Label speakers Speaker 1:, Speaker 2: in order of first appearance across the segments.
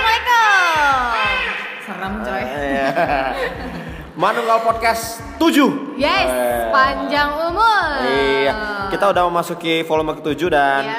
Speaker 1: Assalamualaikum. Serem coy.
Speaker 2: Iya. Manunggal Podcast 7
Speaker 1: Yes, panjang umur.
Speaker 2: eh. Iya, kita udah memasuki volume ke-7 dan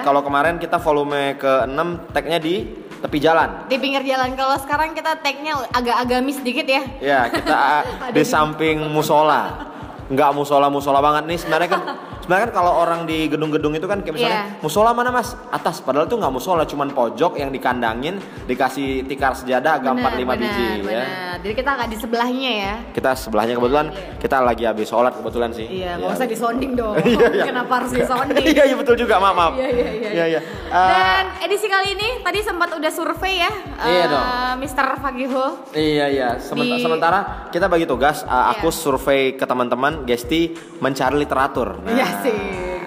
Speaker 1: Iya.
Speaker 2: kalau kemarin kita volume ke-6 tagnya di tepi jalan.
Speaker 1: di pinggir jalan. Kalau sekarang kita tag-nya agak agamis dikit ya.
Speaker 2: Ya, kita ah, di samping musola. Enggak musola-musola banget nih sebenarnya kan sebenarnya kan kalau orang di gedung-gedung itu kan kayak misalnya
Speaker 1: Iya.
Speaker 2: musola mana Mas? Atas padahal itu nggak musola, cuman pojok yang dikandangin, dikasih tikar sejadah agak
Speaker 1: Benar,
Speaker 2: 4 5 biji
Speaker 1: benar,
Speaker 2: ya.
Speaker 1: benar. Jadi kita agak di sebelahnya ya.
Speaker 2: Kita sebelahnya kebetulan kita lagi habis sholat kebetulan sih.
Speaker 1: Iya,
Speaker 2: Iya.
Speaker 1: nggak usah disonding dong.
Speaker 2: Iya, iya.
Speaker 1: Kenapa harus disonding?
Speaker 2: Iya, iya betul juga, maaf, maaf.
Speaker 1: Iya, iya, iya,
Speaker 2: Iya, iya. Eh,
Speaker 1: Dan edisi kali ini tadi sempat udah survei ya,
Speaker 2: Iya
Speaker 1: eh,
Speaker 2: dong.
Speaker 1: Mr. Fagiho.
Speaker 2: Iya iya. Sementa-
Speaker 1: Di-
Speaker 2: Sementara kita bagi tugas. uh, aku
Speaker 1: Iya.
Speaker 2: survei ke teman-teman. Gesti mencari literatur. Nah,
Speaker 1: Iya sih.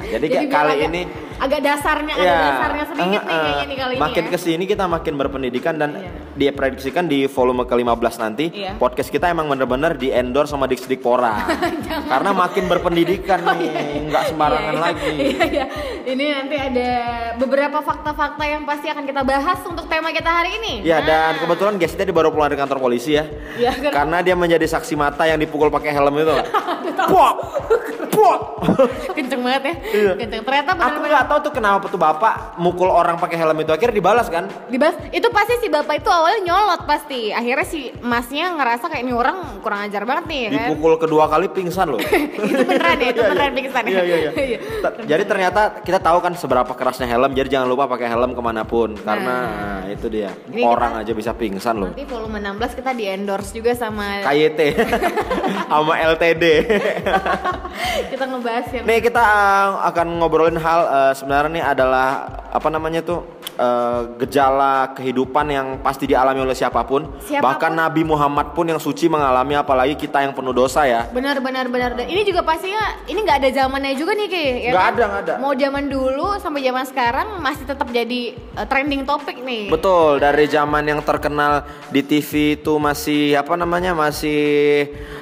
Speaker 2: Jadi, kayak
Speaker 1: biar
Speaker 2: kali
Speaker 1: agak-
Speaker 2: ini.
Speaker 1: agak dasarnya,
Speaker 2: ya,
Speaker 1: ada dasarnya sedikit
Speaker 2: eh,
Speaker 1: nih
Speaker 2: eh,
Speaker 1: kayaknya nih kali ini.
Speaker 2: Makin
Speaker 1: ya.
Speaker 2: kesini kita makin berpendidikan dan
Speaker 1: Iya.
Speaker 2: diprediksikan di volume ke-15 nanti
Speaker 1: Iya.
Speaker 2: podcast kita emang bener-bener di endorse sama Dik Pora. Karena makin berpendidikan nih, nggak sembarangan
Speaker 1: Oh, Iya, iya.
Speaker 2: lagi.
Speaker 1: Iya, iya. Ini nanti ada beberapa fakta-fakta yang pasti akan kita bahas untuk tema kita hari ini.
Speaker 2: Ya
Speaker 1: Nah.
Speaker 2: dan kebetulan Gesti tadi baru pulang dari kantor polisi ya.
Speaker 1: Iya, kenapa?
Speaker 2: Karena dia menjadi saksi mata yang dipukul pakai helm itu. Puak, puak.
Speaker 1: kenceng banget ya.
Speaker 2: Iya.
Speaker 1: Kenceng. Ternyata
Speaker 2: Aku
Speaker 1: benar-benar
Speaker 2: nggak tahu tuh kenapa tuh bapak mukul orang pakai helm itu akhirnya dibalas kan?
Speaker 1: dibahas. Itu pasti si bapak itu awalnya nyolot pasti. Akhirnya si masnya ngerasa kayak ini orang kurang ajar banget nih ya kan.
Speaker 2: Dipukul kedua kali pingsan loh.
Speaker 1: itu beneran ya, itu beneran pingsan ya.
Speaker 2: Iya iya iya. Ta- Jadi ternyata kita tahu kan seberapa kerasnya helm. Jadi jangan lupa pakai helm kemanapun karena nah, itu dia
Speaker 1: Ini
Speaker 2: orang aja bisa pingsan loh.
Speaker 1: Nanti volume 16 kita di endorse juga sama
Speaker 2: KYT sama LTD.
Speaker 1: kita ngebahas yang
Speaker 2: Nih kita uh, akan ngobrolin hal uh, sebenarnya nih adalah apa namanya tuh uh, gejala kehidupan yang pasti dialami oleh siapapun.
Speaker 1: Siapapun.
Speaker 2: Bahkan Nabi Muhammad pun yang suci mengalami apalagi kita yang penuh dosa ya.
Speaker 1: benar benar benar dan ini juga pastinya ini nggak ada zamannya juga nih Ki ya
Speaker 2: Nggak
Speaker 1: kan?
Speaker 2: ada, nggak ada.
Speaker 1: mau zaman dulu sampai zaman sekarang masih tetap jadi eh, trending topik nih
Speaker 2: Betul, dari zaman yang terkenal di TV itu masih apa namanya? masih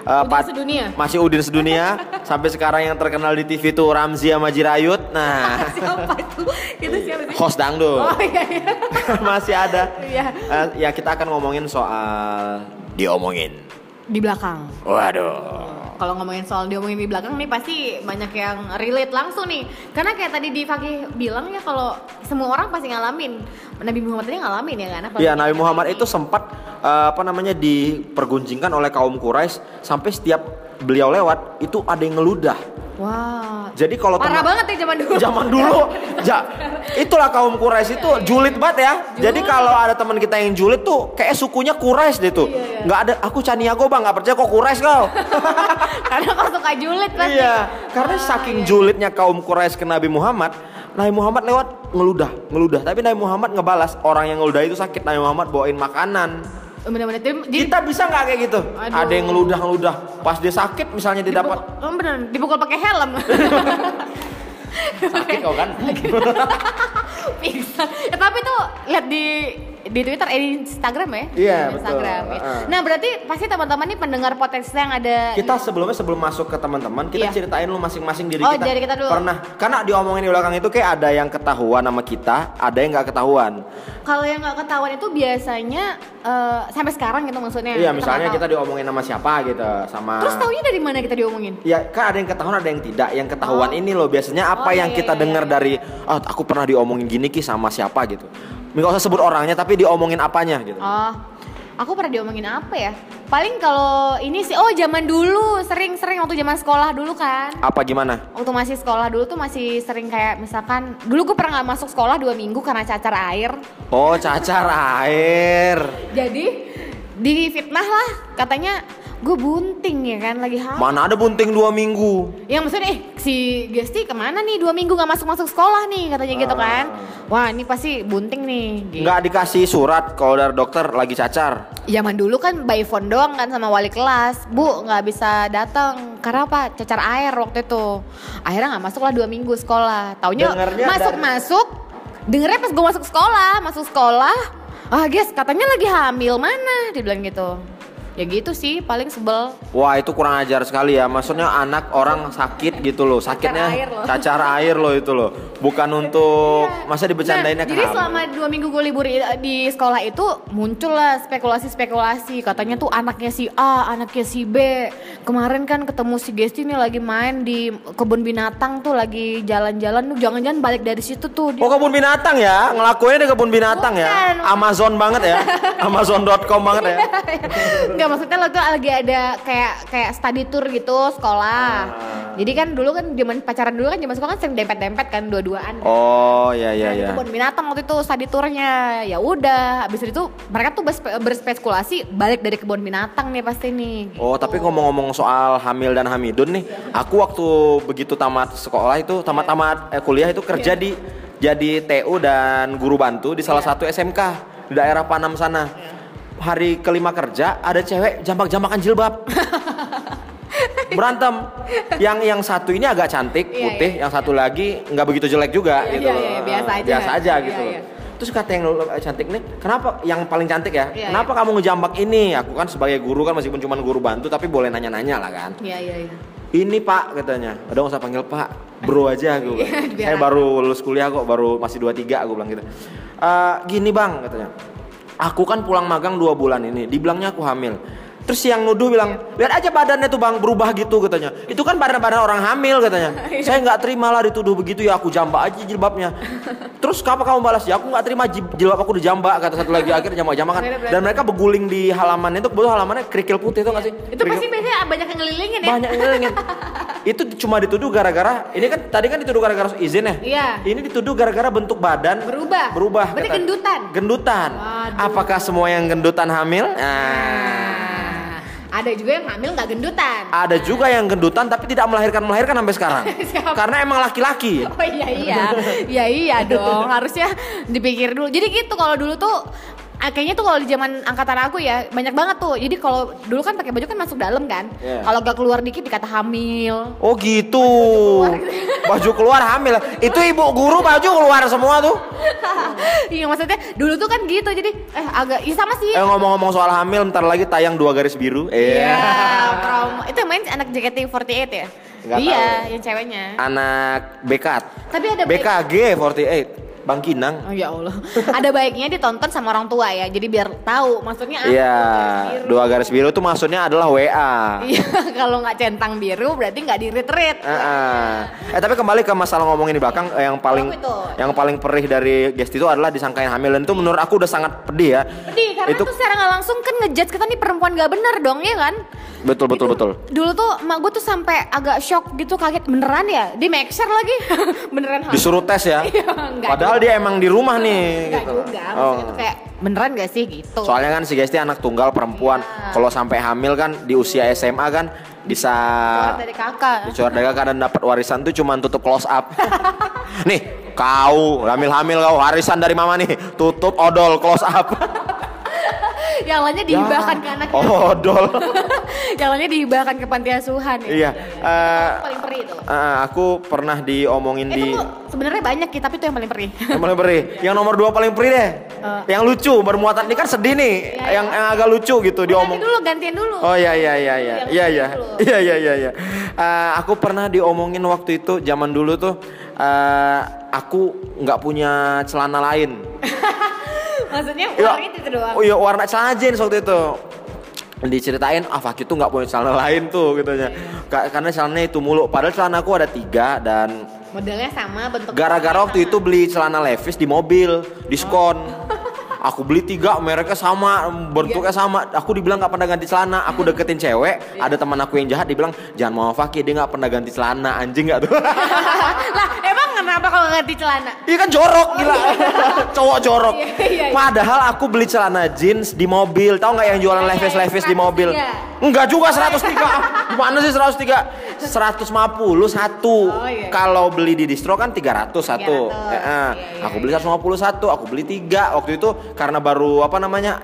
Speaker 2: uh,
Speaker 1: Udin
Speaker 2: pat-
Speaker 1: sedunia.
Speaker 2: Masih Udin sedunia sampai sekarang yang terkenal di TV itu Ramzi sama Jirayut. Nah,
Speaker 1: siapa tuh itu siapa sih
Speaker 2: host dangdut.
Speaker 1: oh iya iya
Speaker 2: masih ada.
Speaker 1: Iya.
Speaker 2: Eh, ya kita akan ngomongin soal diomongin.
Speaker 1: di belakang
Speaker 2: Waduh.
Speaker 1: kalau ngomongin soal diomongin di belakang nih pasti banyak yang relate langsung nih karena kayak tadi di Fakih bilang ya kalau semua orang pasti ngalamin Nabi Muhammad tadi ngalamin ya kan
Speaker 2: Ya Nabi Muhammad itu sempat eh, apa namanya dipergunjingkan oleh kaum Quraisy sampai setiap beliau lewat itu ada yang ngeludah.
Speaker 1: wah
Speaker 2: Jadi kalau Oh,
Speaker 1: parah
Speaker 2: teman-
Speaker 1: banget ya zaman dulu
Speaker 2: zaman dulu, ja, itulah kaum
Speaker 1: Iya,
Speaker 2: Quraisy itu julid banget ya. Jadi kalau ada teman kita yang julid tuh kayak sukunya Quraisy deh
Speaker 1: Iya,
Speaker 2: tuh. Nggak ada aku Caniago bang nggak percaya kok Quraisy kau.
Speaker 1: karena kau suka julid pasti
Speaker 2: Iya, karena saking julidnya kaum Quraisy ke Nabi Muhammad, Nabi Muhammad lewat ngeludah, ngeludah. Tapi Nabi Muhammad ngebalas orang yang ngeludah itu sakit. Nabi Muhammad bawain makanan.
Speaker 1: bener-bener tim- jadi
Speaker 2: Kita bisa nggak kayak gitu?
Speaker 1: Aduh.
Speaker 2: Ada yang ngeludah ngeludah. Pas dia sakit misalnya dia
Speaker 1: dipukul-
Speaker 2: dapat
Speaker 1: Oh, bener dipukul pakai helm
Speaker 2: sakit kau kan?
Speaker 1: pingsan ya, tapi tuh lihat di di Twitter eh, di Instagram ya
Speaker 2: Iya,
Speaker 1: Di
Speaker 2: betul.
Speaker 1: Instagram ya.
Speaker 2: Heeh.
Speaker 1: nah berarti pasti teman-teman nih pendengar potensi yang ada
Speaker 2: Kita sebelumnya sebelum masuk ke teman-teman, kita
Speaker 1: Iya.
Speaker 2: ceritain lu masing-masing diri
Speaker 1: Oh,
Speaker 2: kita.
Speaker 1: dari kita dulu.
Speaker 2: Pernah karena diomongin di belakang itu kayak ada yang ketahuan sama kita, ada yang nggak
Speaker 1: Iya,
Speaker 2: ketahuan. Iya,
Speaker 1: Kalau yang nggak ketahuan itu biasanya eh, sampai sekarang gitu maksudnya.
Speaker 2: Iya,
Speaker 1: Kita
Speaker 2: misalnya
Speaker 1: nggak
Speaker 2: kita
Speaker 1: tahu.
Speaker 2: diomongin sama siapa gitu, sama
Speaker 1: Terus taunya dari mana kita diomongin?
Speaker 2: Ya kan ada yang ketahuan ada yang tidak. Yang ketahuan
Speaker 1: Oh.
Speaker 2: ini loh biasanya apa
Speaker 1: Oh, iya,
Speaker 2: yang kita
Speaker 1: iya,
Speaker 2: dengar
Speaker 1: iya.
Speaker 2: dari "Ah, aku pernah diomongin gini ki sama siapa gitu. Enggak usah sebut orangnya tapi diomongin apanya gitu.
Speaker 1: Oh, aku pernah diomongin apa ya? Paling kalau ini sih, oh zaman dulu sering-sering waktu zaman sekolah dulu kan.
Speaker 2: Apa gimana?
Speaker 1: Waktu masih sekolah dulu tuh masih sering kayak misalkan dulu gue pernah nggak masuk sekolah dua minggu karena cacar air.
Speaker 2: Oh, cacar air.
Speaker 1: Jadi difitnah lah katanya gue bunting ya kan lagi hamil.
Speaker 2: Mana ada bunting dua minggu.
Speaker 1: yang maksudnya eh si Gesti kemana nih dua minggu nggak masuk masuk sekolah nih katanya gitu kan wah ini pasti bunting nih gitu.
Speaker 2: Enggak dikasih surat kalau dari dokter lagi cacar.
Speaker 1: zaman dulu kan by phone doang kan sama wali kelas bu nggak bisa datang karena apa cacar air waktu itu akhirnya nggak masuk lah dua minggu sekolah taunya
Speaker 2: Dengernya
Speaker 1: masuk
Speaker 2: dari-
Speaker 1: masuk dengernya pas gue masuk sekolah masuk sekolah ah guys katanya lagi hamil mana dibilang gitu ya gitu sih paling sebel
Speaker 2: Wah itu kurang ajar sekali ya. Maksudnya anak orang sakit gitu loh. Sakitnya
Speaker 1: air loh.
Speaker 2: cacar air loh itu loh. Bukan untuk masa dibecandainnya
Speaker 1: Nah, jadi
Speaker 2: kenapa?
Speaker 1: selama dua minggu gue libur i- di sekolah itu muncullah spekulasi-spekulasi katanya tuh anaknya si A, anaknya si B. Kemarin kan ketemu si Gesti nih lagi main di kebun binatang tuh lagi jalan-jalan tuh jangan-jangan balik dari situ tuh. Dia-
Speaker 2: Oh kebun binatang ya, ngelakuinnya di kebun binatang ya.
Speaker 1: Bukan. Iya.
Speaker 2: Amazon banget ya, Amazon.com banget ya.
Speaker 1: Enggak maksudnya lo tuh lagi ada kayak kayak study tour gitu sekolah. Jadi kan dulu kan zaman pacaran dulu kan zaman sekolah kan sering dempet-dempet kan dua-duaan.
Speaker 2: Oh ya ya ya.
Speaker 1: Nah, kebun binatang waktu itu study tournya ya udah habis itu mereka tuh berspe- berspekulasi balik dari kebun binatang nih pasti nih
Speaker 2: Oh tapi ngomong-ngomong soal Hamil dan Hamidun nih, aku waktu begitu tamat sekolah itu, tamat-tamat eh, kuliah itu
Speaker 1: Iya.
Speaker 2: kerja di jadi TU dan guru bantu di salah satu SMK di daerah Panam
Speaker 1: Iya.
Speaker 2: sana. Hari kelima kerja ada cewek jambak-jambakan jilbab. berantem yang yang satu ini agak cantik
Speaker 1: Iya,
Speaker 2: putih
Speaker 1: iya,
Speaker 2: yang satu lagi nggak begitu jelek juga
Speaker 1: Iya,
Speaker 2: gitu
Speaker 1: iya,
Speaker 2: loh.
Speaker 1: iya, biasa aja. Iya,
Speaker 2: gitu loh.
Speaker 1: iya.
Speaker 2: terus kata yang lu- eh, cantik nih kenapa yang paling cantik ya
Speaker 1: Iya,
Speaker 2: kenapa kamu ngejambak ini aku kan sebagai guru kan meskipun cuma guru bantu tapi boleh nanya-nanya lah kan
Speaker 1: iya iya iya
Speaker 2: ini pak katanya udah nggak usah panggil pak bro aja aku bilang
Speaker 1: Iya, Biar
Speaker 2: saya
Speaker 1: aja.
Speaker 2: baru lulus kuliah kok baru masih 23 aku bilang gitu "Eh, gini bang katanya aku kan pulang magang dua bulan ini dibilangnya aku hamil terus yang nuduh bilang lihat aja badannya tuh bang berubah gitu katanya itu kan badan-badan orang hamil katanya
Speaker 1: Iya.
Speaker 2: saya nggak terima lah dituduh begitu ya aku jambak aja jilbabnya terus kenapa kamu balas ya aku nggak terima jib- jilbab aku dijambak kata satu lagi akhirnya jambak jambakan
Speaker 1: Akhirnya
Speaker 2: dan mereka beguling di halamannya itu kebetulan halamannya kerikil putih itu nggak sih
Speaker 1: Iya. itu
Speaker 2: Kerikil-
Speaker 1: pasti biasanya banyak yang ngelilingin ya
Speaker 2: banyak yang ngelengin. itu cuma dituduh gara-gara ini kan tadi kan dituduh gara-gara izin ya
Speaker 1: Iya.
Speaker 2: ini dituduh gara-gara bentuk badan
Speaker 1: Berubah.
Speaker 2: berubah
Speaker 1: Berarti
Speaker 2: kata-
Speaker 1: gendutan.
Speaker 2: gendutan
Speaker 1: Waduh.
Speaker 2: apakah semua yang gendutan hamil nah.
Speaker 1: Nah, ada juga yang hamil nggak gendutan
Speaker 2: ada juga yang gendutan tapi tidak melahirkan melahirkan sampai sekarang
Speaker 1: Siapa?
Speaker 2: karena emang laki-laki
Speaker 1: Oh iya iya, iya iya dong. Harusnya dipikir dulu. Jadi gitu kalau dulu tuh ah, kayaknya tuh kalau di zaman angkatan aku ya banyak banget tuh. Jadi kalau dulu kan pakai baju kan masuk dalam kan.
Speaker 2: Iya.
Speaker 1: Kalau gak keluar dikit dikata hamil.
Speaker 2: Oh gitu. Baju keluar hamil. Itu ibu guru baju keluar semua tuh.
Speaker 1: Iya maksudnya dulu tuh kan gitu. Jadi eh agak iya sama sih.
Speaker 2: Eh ngomong-ngomong soal hamil, ntar lagi tayang dua garis biru. Iya.
Speaker 1: Iya, promo. Itu yang main anak JKT48 ya?
Speaker 2: Nggak
Speaker 1: iya,
Speaker 2: tahu.
Speaker 1: yang ceweknya.
Speaker 2: Anak bekat.
Speaker 1: Tapi ada baik-
Speaker 2: BKG 48 Bang Kinang.
Speaker 1: Oh ya Allah. ada baiknya ditonton sama orang tua ya. Jadi biar tahu maksudnya apa.
Speaker 2: Iya,
Speaker 1: biru.
Speaker 2: dua garis biru itu maksudnya adalah WA.
Speaker 1: Iya, kalau nggak centang biru berarti nggak di retreat.
Speaker 2: Heeh. Eh tapi kembali ke masalah ngomongin di belakang eh, yang paling
Speaker 1: Apa itu?
Speaker 2: yang paling perih dari Gesti itu adalah disangkain hamil dan itu menurut aku udah sangat pedih ya.
Speaker 1: Pedih karena
Speaker 2: Itu-
Speaker 1: itu secara nggak langsung kan ngejudge kita nih perempuan gak bener dong ya kan?
Speaker 2: Betul betul betul.
Speaker 1: Dulu tuh emak gue tuh sampai agak shock gitu kaget beneran ya di make sure lagi beneran hamil.
Speaker 2: Disuruh tes ya.
Speaker 1: Iya, enggak
Speaker 2: Padahal dia emang di rumah nih
Speaker 1: Enggak
Speaker 2: gitu.
Speaker 1: juga,
Speaker 2: Oh.
Speaker 1: maksudnya tuh kayak beneran gak sih gitu.
Speaker 2: Soalnya kan si Gesti anak tunggal perempuan.
Speaker 1: Iya.
Speaker 2: Kalau sampai hamil kan di usia SMA kan bisa
Speaker 1: Keluar dari kakak.
Speaker 2: Dicuar dagang kadang dapat warisan tuh cuman tutup close up. nih, kau hamil-hamil kau warisan dari mama nih. Tutup odol close up.
Speaker 1: Yang
Speaker 2: Ya.
Speaker 1: lainnya dihibahkan ke anaknya.
Speaker 2: Oh. Odol.
Speaker 1: Yang lainnya dihibahkan ke panti asuhan ya.
Speaker 2: iya. eh,
Speaker 1: Itu paling perih itu.
Speaker 2: eh, aku pernah diomongin
Speaker 1: Eh
Speaker 2: di
Speaker 1: tunggu, sebenarnya banyak sih tapi itu yang paling perih.
Speaker 2: yang paling perih. Yang nomor dua paling perih deh. yang lucu bermuatan ini kan sedih nih.
Speaker 1: Eh. Iya,
Speaker 2: Yang, yang agak lucu gitu diomong.
Speaker 1: Ganti dulu, gantian dulu.
Speaker 2: Oh iya iya iya iya
Speaker 1: Yang
Speaker 2: iya iya
Speaker 1: dulu.
Speaker 2: iya iya iya. iya. Eh, aku pernah diomongin waktu itu zaman dulu tuh eh, aku nggak punya celana lain.
Speaker 1: Maksudnya
Speaker 2: Iya.
Speaker 1: warnanya itu doang.
Speaker 2: Oh iya warna celana jeans waktu itu diceritain ah Fakih tuh nggak punya celana lain tuh
Speaker 1: Iya.
Speaker 2: katanya Ka- karena celananya itu mulu padahal celana aku ada tiga dan
Speaker 1: Modelnya sama, bentuknya
Speaker 2: gara-gara waktu itu beli celana Levi's di mobil
Speaker 1: Oh.
Speaker 2: diskon aku beli tiga mereknya sama bentuknya sama aku dibilang nggak pernah ganti celana aku
Speaker 1: Hmm.
Speaker 2: deketin
Speaker 1: Iya.
Speaker 2: cewek ada teman aku yang jahat dibilang jangan mau Fakih dia nggak pernah ganti celana anjing nggak tuh
Speaker 1: lah emang kenapa kalau ganti celana
Speaker 2: Iya kan jorok gila. Cowok jorok.
Speaker 1: Iya, iya, iya.
Speaker 2: Padahal aku beli celana jeans di mobil. Tahu nggak yang jualan
Speaker 1: Iya, iya,
Speaker 2: Levi's Levi's di
Speaker 1: 103.
Speaker 2: mobil? Enggak juga 103. Ah, Gimana sih 103? 151 satu.
Speaker 1: Oh, iya.
Speaker 2: Kalau beli di distro kan 300 satu. Eh,
Speaker 1: 300.
Speaker 2: eh.
Speaker 1: Iya, iya,
Speaker 2: aku beli 151, aku beli 3. Waktu itu karena baru apa namanya?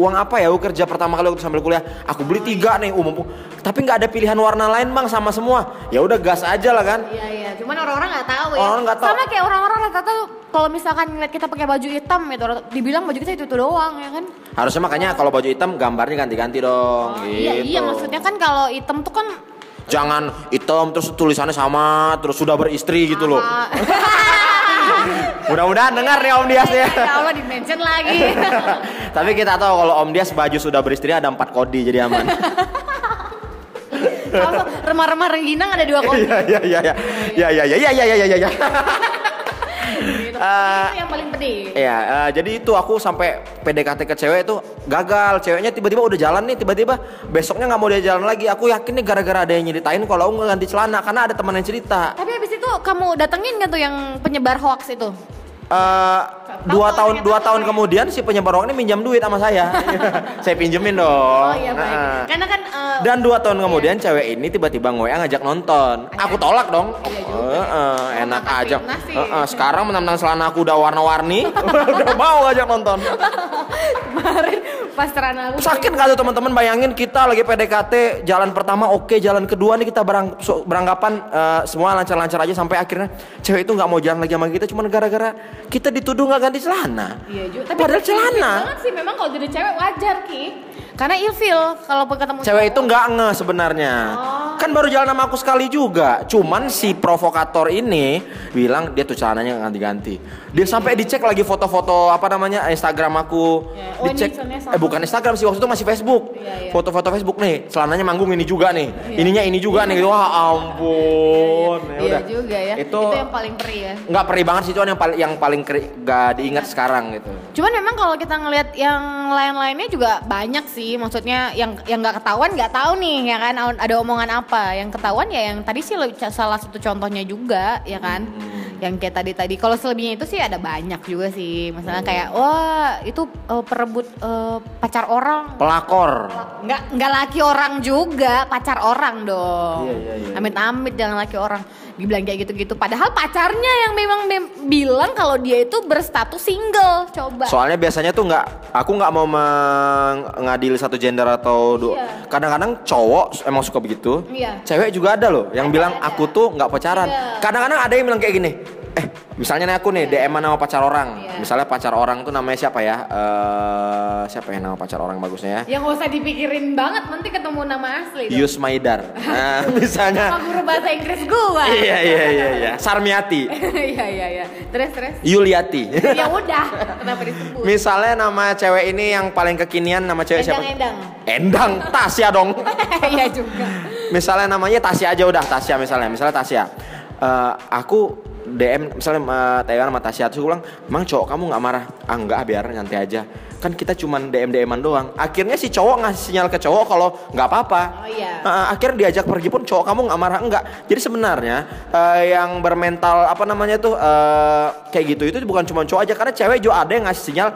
Speaker 2: uang apa ya aku kerja pertama kali waktu sambil kuliah aku
Speaker 1: Oh,
Speaker 2: beli
Speaker 1: iya.
Speaker 2: tiga nih umum tapi nggak ada pilihan warna lain bang sama semua ya udah gas aja lah kan
Speaker 1: iya iya cuman orang-orang nggak tahu ya.
Speaker 2: Orang-orang nggak tahu.
Speaker 1: Sama kayak orang-orang rata-rata tuh kalau misalkan ngeliat kita pakai baju hitam gitu, rata- dibilang baju kita itu itu doang ya kan?
Speaker 2: Harusnya makanya kalau baju hitam gambarnya ganti-ganti dong. gitu.
Speaker 1: Iya iya maksudnya kan kalau hitam tuh kan
Speaker 2: Jangan hitam terus tulisannya sama terus sudah beristri gitu loh.
Speaker 1: Ah,
Speaker 2: Mudah-mudahan dengar nih Om Dias ya.
Speaker 1: ya Allah di mention lagi.
Speaker 2: Tapi kita tahu kalau Om Dias baju sudah beristri ada empat kodi jadi aman.
Speaker 1: Kalau remah-remah rengginang ada dua kopi
Speaker 2: Iya iya iya iya iya iya iya iya iya iya iya.
Speaker 1: gitu.
Speaker 2: Ah.
Speaker 1: itu yang paling pedih.
Speaker 2: Iya, eh, jadi itu aku sampai PDKT ke cewek itu gagal. Ceweknya tiba-tiba udah jalan nih, tiba-tiba besoknya nggak mau dia jalan lagi. Aku yakin nih gara-gara ada yang nyeritain kalau aku nggak ganti celana karena ada teman yang cerita.
Speaker 1: Tapi habis itu kamu datengin kan tuh yang penyebar hoax itu?
Speaker 2: Eh, dua tahun dua tahun kemudian si penyebar hoax ini minjam duit sama saya. saya pinjemin dong.
Speaker 1: Oh iya baik. Iya.
Speaker 2: Nah.
Speaker 1: Karena kan eh,
Speaker 2: Dan dua tahun kemudian cewek ini tiba-tiba ngoya ngajak nonton.
Speaker 1: Iya.
Speaker 2: Aku tolak dong. Eh, eh, enak
Speaker 1: Makan
Speaker 2: aja.
Speaker 1: fitnah sih.
Speaker 2: Eh, eh, sekarang menang celana aku udah warna-warni, udah mau ngajak nonton.
Speaker 1: kemarin pas terana aku
Speaker 2: Sakit gak tuh teman-teman bayangin kita lagi PDKT jalan pertama oke jalan kedua nih kita berang- so- beranggapan eh, semua lancar-lancar aja sampai akhirnya cewek itu nggak mau jalan lagi sama kita cuman gara-gara kita dituduh nggak ganti celana.
Speaker 1: Iya juga.
Speaker 2: Padahal
Speaker 1: ilfil
Speaker 2: celana.
Speaker 1: banget sih memang kalau jadi cewek wajar ki. Karena ilfil kalau ketemu
Speaker 2: Cewek itu nggak nge sebenarnya.
Speaker 1: Oh.
Speaker 2: Kan baru jalan sama aku sekali juga. Cuman si provokator ini bilang dia tuh celananya nggak ganti-ganti. Dia sampai dicek lagi foto-foto apa namanya Instagram aku.
Speaker 1: Iya. Oh, ini
Speaker 2: dicek.
Speaker 1: celana sama.
Speaker 2: Eh bukan Instagram sih waktu itu masih Facebook.
Speaker 1: Iya, iya.
Speaker 2: Foto-foto Facebook nih. Celananya manggung ini juga nih. Ininya ini juga nih. gitu. Wah ampun. Ya
Speaker 1: Iya
Speaker 2: udah.
Speaker 1: juga ya.
Speaker 2: Itu
Speaker 1: yang paling perih ya.
Speaker 2: nggak perih banget sih cuman yang paling yang paling keri- nggak diingat sekarang gitu.
Speaker 1: Cuman memang kalau kita ngelihat yang lain-lainnya juga banyak sih, maksudnya yang yang nggak ketahuan nggak tahu nih, ya kan ada omongan apa. Yang ketahuan ya yang tadi sih le- salah satu contohnya juga, ya kan.
Speaker 2: Hmm.
Speaker 1: Yang kayak tadi tadi. Kalau selebihnya itu sih ada banyak juga sih, misalnya kayak wah itu eh, perebut eh, pacar orang,
Speaker 2: Pelakor.
Speaker 1: nggak nggak laki orang juga pacar orang dong
Speaker 2: Iya, iya, iya.
Speaker 1: amit-amit jangan laki orang dibilang kayak gitu-gitu padahal pacarnya yang memang mem- bilang kalau dia itu berstatus single coba
Speaker 2: Soalnya biasanya tuh nggak, aku nggak mau mengadili satu gender atau dua.
Speaker 1: Iya.
Speaker 2: Kadang-kadang cowok emang suka begitu.
Speaker 1: Iya.
Speaker 2: Cewek juga ada loh yang bilang
Speaker 1: ada.
Speaker 2: aku tuh nggak pacaran.
Speaker 1: Iya.
Speaker 2: Kadang-kadang ada yang bilang kayak gini. Eh, misalnya nih aku nih DM nama pacar orang.
Speaker 1: Iya.
Speaker 2: Misalnya pacar orang tuh namanya siapa ya? Eh, siapa ya nama pacar orang bagusnya ya?
Speaker 1: yang gak usah dipikirin banget nanti ketemu nama asli dong.
Speaker 2: Yus Maidar. Nah, misalnya.
Speaker 1: sama guru bahasa Inggris gua
Speaker 2: iya iya iya iya. Sarmiati,
Speaker 1: iya iya iya terus terus
Speaker 2: Yuliati.
Speaker 1: ya udah kenapa disebut
Speaker 2: misalnya nama cewek ini yang paling kekinian nama cewek siapa?
Speaker 1: endang
Speaker 2: Endang Tasya dong.
Speaker 1: endang iya juga
Speaker 2: misalnya namanya Tasya aja udah Tasya misalnya misalnya Tasya Eh, aku DM misalnya eh, Taiwan sama Tasya terus aku bilang emang cowok kamu nggak marah ah nggak biar nanti aja kan kita cuman DM DMan doang akhirnya si cowok ngasih sinyal ke cowok kalau nggak apa-apa
Speaker 1: Oh, iya.
Speaker 2: Eh, akhirnya diajak pergi pun cowok kamu nggak marah enggak jadi sebenarnya eh, yang bermental apa namanya tuh eh, kayak gitu itu bukan cuma cowok aja karena cewek juga ada yang ngasih sinyal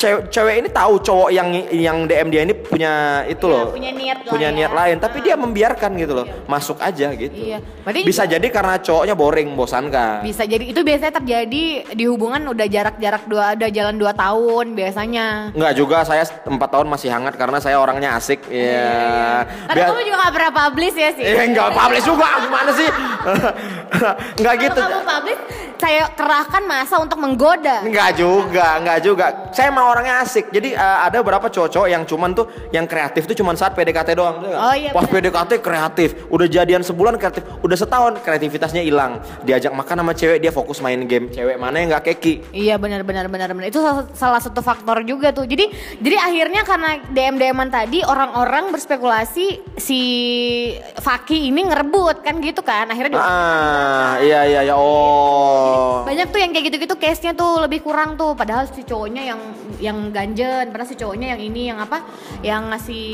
Speaker 2: cewek, cewek ini tahu cowok yang yang DM dia ini punya itu
Speaker 1: Iya,
Speaker 2: loh
Speaker 1: punya niat lah
Speaker 2: punya
Speaker 1: ya.
Speaker 2: niat lain tapi dia membiarkan gitu loh masuk aja gitu
Speaker 1: Iya. Berarti-
Speaker 2: bisa jadi karena cowoknya boring bosankan
Speaker 1: bisa jadi itu biasanya terjadi di hubungan udah jarak-jarak dua udah jalan dua tahun biasanya
Speaker 2: Enggak juga saya empat tahun masih hangat karena saya orangnya asik ya
Speaker 1: Karena Iya, kamu juga gak pernah publish ya sih.
Speaker 2: Eh enggak publish juga gimana sih? enggak
Speaker 1: Kalau
Speaker 2: gitu.
Speaker 1: kamu publish, saya kerahkan masa untuk menggoda.
Speaker 2: Enggak juga, enggak juga. Saya emang orangnya asik. Jadi eh, ada berapa cowok-cowok yang cuman tuh yang kreatif tuh cuman saat PDKT doang. tuh nggak?
Speaker 1: Oh, iya,
Speaker 2: Pas PDKT kreatif, udah jadian sebulan kreatif, udah setahun kreativitasnya hilang. Diajak makan sama cewek dia fokus main game. Cewek mana yang enggak keki?
Speaker 1: Iya benar benar benar benar. Itu salah, salah satu faktor juga tuh. Jadi jadi akhirnya karena DM DMan tadi orang-orang berspekulasi si Faki ini ngerebut kan gitu kan. Akhirnya dia-
Speaker 2: Ah, iya iya ya. Oh.
Speaker 1: banyak tuh yang kayak gitu-gitu case-nya tuh lebih kurang tuh padahal si cowoknya yang yang ganjen padahal si cowoknya yang ini yang apa yang ngasih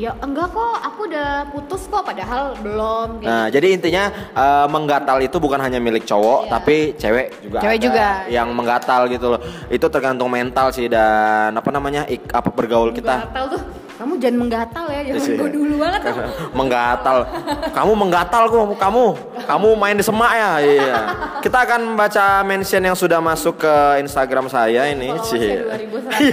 Speaker 1: ya enggak kok aku udah putus kok padahal belum gitu.
Speaker 2: Nah, jadi intinya eh, menggatal itu bukan hanya milik cowok,
Speaker 1: Iya.
Speaker 2: tapi cewek juga.
Speaker 1: Cewek
Speaker 2: ada
Speaker 1: juga.
Speaker 2: yang menggatal gitu loh. Itu tergantung mental sih dan apa namanya ik- apa bergaul kita.
Speaker 1: Gatal tuh. Kamu jangan menggatal ya, jangan
Speaker 2: Iya.
Speaker 1: gue dulu banget. tuh.
Speaker 2: menggatal. Kamu menggatal kok kamu. Kamu main di semak ya. Iya. Kita akan baca mention yang sudah masuk ke Instagram saya ini.
Speaker 1: followersnya
Speaker 2: Iya 2000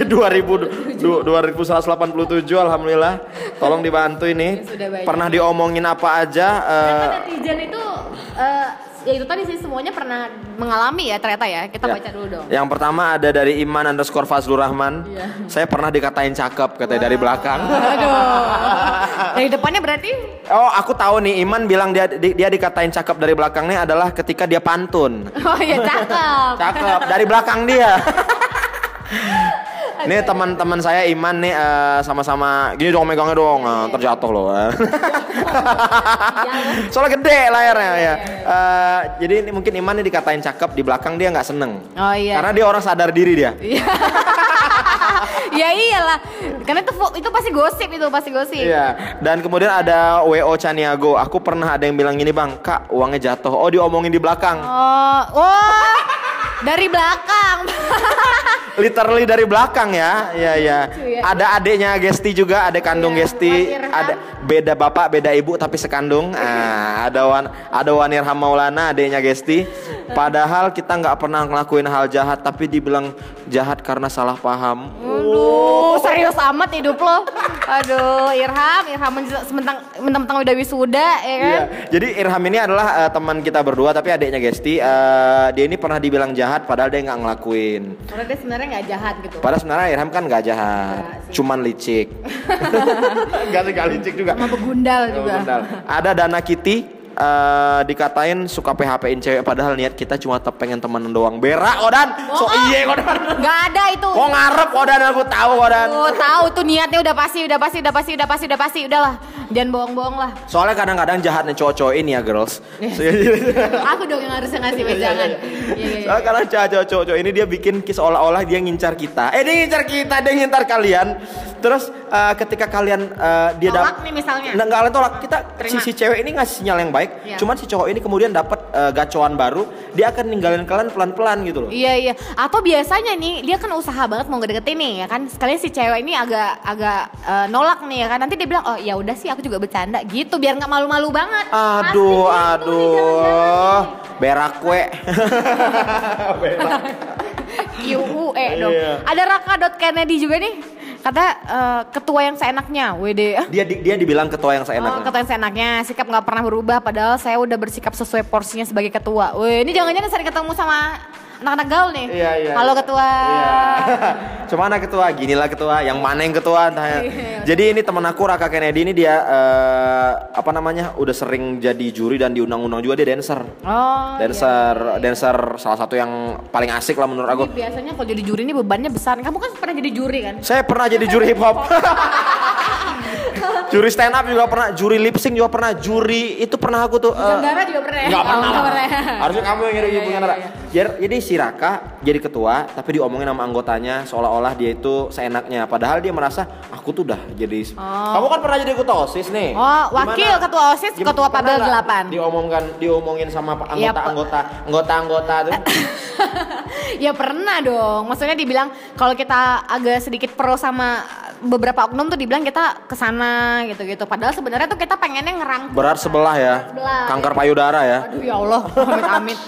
Speaker 2: du- 2187 alhamdulillah. Tolong dibantu ini.
Speaker 1: Ya, Iya, sudah banyak.
Speaker 2: Pernah diomongin apa aja eh,
Speaker 1: Karena netizen itu eh, ya itu tadi sih semuanya pernah mengalami ya ternyata ya. Kita
Speaker 2: Ya.
Speaker 1: baca dulu dong.
Speaker 2: Yang pertama ada dari Iman underscore Fazlur Rahman.
Speaker 1: Iya.
Speaker 2: Saya pernah dikatain cakep katanya dari belakang.
Speaker 1: Aduh. Dari depannya berarti
Speaker 2: Oh, aku tahu nih Iman bilang dia di- dia dikatain cakep dari belakangnya adalah ketika dia pantun.
Speaker 1: Oh ya cakep.
Speaker 2: Cakep dari belakang dia. Nih teman-teman saya Iman nih eh, sama-sama gini dong megangnya dong
Speaker 1: Iya,
Speaker 2: eh, terjatuh loh. Soalnya gede
Speaker 1: Iya,
Speaker 2: layarnya ya. Eh, jadi ini mungkin Iman nih dikatain cakep di belakang dia nggak seneng.
Speaker 1: Oh iya.
Speaker 2: Karena dia orang sadar diri dia.
Speaker 1: ya iyalah. Karena itu fu- itu pasti gosip itu pasti gosip.
Speaker 2: Iya. Dan kemudian ada WO Caniago. Aku pernah ada yang bilang gini bang, kak uangnya jatuh. Oh diomongin di belakang.
Speaker 1: Oh, oh. Dari belakang.
Speaker 2: Literally dari belakang ya. Iya iya.
Speaker 1: ya.
Speaker 2: Ada adeknya Gesti juga, adek kandung
Speaker 1: Iya,
Speaker 2: Gesti.
Speaker 1: Wanirham.
Speaker 2: Ada beda bapak, beda ibu tapi sekandung. Ah, ada wan, ada Wanirham Maulana, adeknya Gesti. Padahal kita nggak pernah ngelakuin hal jahat, tapi dibilang jahat karena salah paham.
Speaker 1: Hmm,
Speaker 2: Oh.
Speaker 1: Aduh, serius amat hidup lo. Aduh, Irham, Irham menje- sementang mentang-mentang udah wisuda ya kan.
Speaker 2: Iya. Jadi Irham ini adalah eh, teman kita berdua tapi adiknya Gesti eh, dia ini pernah dibilang jahat padahal dia nggak ngelakuin.
Speaker 1: Karena dia sebenarnya nggak jahat gitu.
Speaker 2: Padahal sebenarnya Irham kan nggak jahat,
Speaker 1: Nggak sih.
Speaker 2: cuman licik. Gak sih nggak licik juga.
Speaker 1: Sama begundal juga.
Speaker 2: Bentar. Ada Dana Kitty eh, dikatain suka PHP-in cewek padahal niat kita cuma te- pengen temenan doang. Berak Odan. So
Speaker 1: Bohong.
Speaker 2: iye Odan.
Speaker 1: Nggak ada itu.
Speaker 2: Kok ngarep Odan aku tahu Odan.
Speaker 1: Oh, tahu tuh niatnya udah pasti, udah pasti, udah pasti, udah pasti, udah pasti, udahlah. Jangan bohong-bohong lah.
Speaker 2: Soalnya kadang-kadang jahatnya cowok-cowok ini ya girls. iya.
Speaker 1: Aku dong yang harusnya ngasih wejangan. Iya, iya, iya.
Speaker 2: Soalnya karena cowok-cowok ini dia bikin kis olah-olah dia ngincar kita. Eh dia ngincar kita, dia ngincar kalian. Terus eh, ketika kalian eh, dia
Speaker 1: Tolak
Speaker 2: dap-
Speaker 1: nih misalnya.
Speaker 2: Nggak, nggak kalian tolak. Kita si,
Speaker 1: Terima.
Speaker 2: si cewek ini ngasih sinyal yang baik.
Speaker 1: Iya.
Speaker 2: Cuman si cowok ini kemudian dapat eh, gacoan baru, dia akan ninggalin kalian pelan-pelan gitu loh.
Speaker 1: Iya iya. Atau biasanya nih dia kan usaha banget mau ngedeketin nih ya kan. Sekalian si cewek ini agak agak eh, nolak nih ya kan. Nanti dia bilang oh ya udah sih aku juga bercanda gitu biar nggak malu-malu banget.
Speaker 2: Aduh,
Speaker 1: Pasti gitu nih,
Speaker 2: aduh.
Speaker 1: jangan-jangan
Speaker 2: Berak we. Berak.
Speaker 1: nih. QUE E, dong.
Speaker 2: Iya.
Speaker 1: Ada raka.kennedy juga nih. Kata eh, ketua yang seenaknya WD.
Speaker 2: Dia di- dia dibilang ketua yang
Speaker 1: Oh,
Speaker 2: seenaknya.
Speaker 1: ketua yang seenaknya, sikap nggak pernah berubah padahal saya udah bersikap sesuai porsinya sebagai ketua. Wih, ini jangan-jangan sering ketemu sama anak-anak gaul nih.
Speaker 2: Iya, iya.
Speaker 1: Halo ketua.
Speaker 2: Iya. Cuma anak ketua, ginilah ketua, yang mana yang ketua entah
Speaker 1: Iya.
Speaker 2: ya. Jadi ini teman aku Raka Kennedy ini dia eh, apa namanya? udah sering jadi juri dan diundang-undang juga dia dancer.
Speaker 1: Oh. iya.
Speaker 2: dancer dancer salah satu yang paling asik lah menurut aku.
Speaker 1: Ini biasanya kalau jadi juri ini bebannya besar. Kamu kan pernah jadi juri kan?
Speaker 2: Saya pernah jadi juri hip hop. juri stand up juga pernah, juri lip sync juga pernah, juri itu pernah aku tuh eh,
Speaker 1: Sandara juga pernah. ya?
Speaker 2: Enggak
Speaker 1: Oh,
Speaker 2: pernah.
Speaker 1: nggak
Speaker 2: Harusnya kamu yang jadi
Speaker 1: Iya,
Speaker 2: punya
Speaker 1: iya,
Speaker 2: Nara.
Speaker 1: iya.
Speaker 2: Jadi, jadi si Raka jadi ketua tapi diomongin sama anggotanya seolah-olah dia itu seenaknya padahal dia merasa aku tuh udah jadi Kamu kan pernah jadi ketua OSIS nih.
Speaker 1: Oh, wakil ketua OSIS,
Speaker 2: Gimana-
Speaker 1: ketua
Speaker 2: pernah
Speaker 1: Pabel
Speaker 2: nggak
Speaker 1: delapan.
Speaker 2: Diomongkan diomongin sama pa-
Speaker 1: Iya, Pak.
Speaker 2: anggota-anggota, anggota-anggota tuh.
Speaker 1: ya pernah dong. Maksudnya dibilang kalau kita agak sedikit pro sama beberapa oknum tuh dibilang kita kesana gitu-gitu. Padahal sebenarnya tuh kita pengennya ngerangkul.
Speaker 2: Berat sebelah ya.
Speaker 1: Sebelah.
Speaker 2: Kanker payudara ya.
Speaker 1: Aduh ya Allah, amit amit.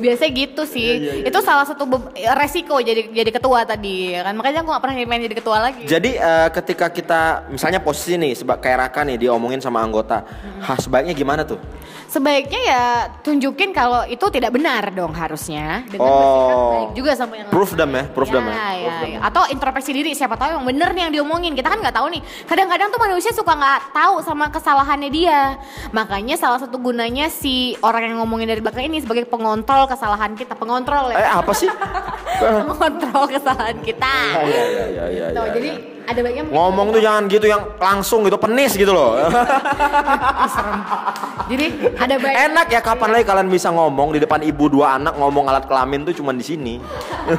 Speaker 1: Biasanya gitu sih.
Speaker 2: Iya,
Speaker 1: Itu salah satu be- resiko jadi jadi ketua tadi ya kan. Makanya aku gak pernah main jadi ketua lagi.
Speaker 2: Jadi eh, ketika kita misalnya posisi nih sebab kayak Raka nih diomongin sama anggota,
Speaker 1: Hmm.
Speaker 2: "Hah, sebaiknya gimana tuh?"
Speaker 1: Sebaiknya ya tunjukin kalau itu tidak benar dong harusnya dengan
Speaker 2: Oh.
Speaker 1: bersikap baik juga sama yang
Speaker 2: Proof them ya, proof them ya.
Speaker 1: Ya,
Speaker 2: Proof them
Speaker 1: ya.
Speaker 2: ya.
Speaker 1: Atau introspeksi diri siapa tahu yang bener nih yang diomongin. Kita kan nggak tahu nih. Kadang-kadang tuh manusia suka nggak tahu sama kesalahannya dia. Makanya salah satu gunanya si orang yang ngomongin dari belakang ini sebagai pengontrol kesalahan kita,
Speaker 2: Eh,
Speaker 1: pengontrol ya.
Speaker 2: apa sih?
Speaker 1: Mengontrol kesalahan kita.
Speaker 2: Ah, iya, iya, iya, iya, iya,
Speaker 1: Tuh, Gitu. jadi
Speaker 2: iya.
Speaker 1: ada baiknya
Speaker 2: Ngomong tuh jangan gitu yang langsung gitu penis gitu loh.
Speaker 1: Jadi ada baiknya
Speaker 2: Enak ya kapan lagi kalian bisa ngomong di depan ibu dua anak ngomong alat kelamin tuh cuman di sini.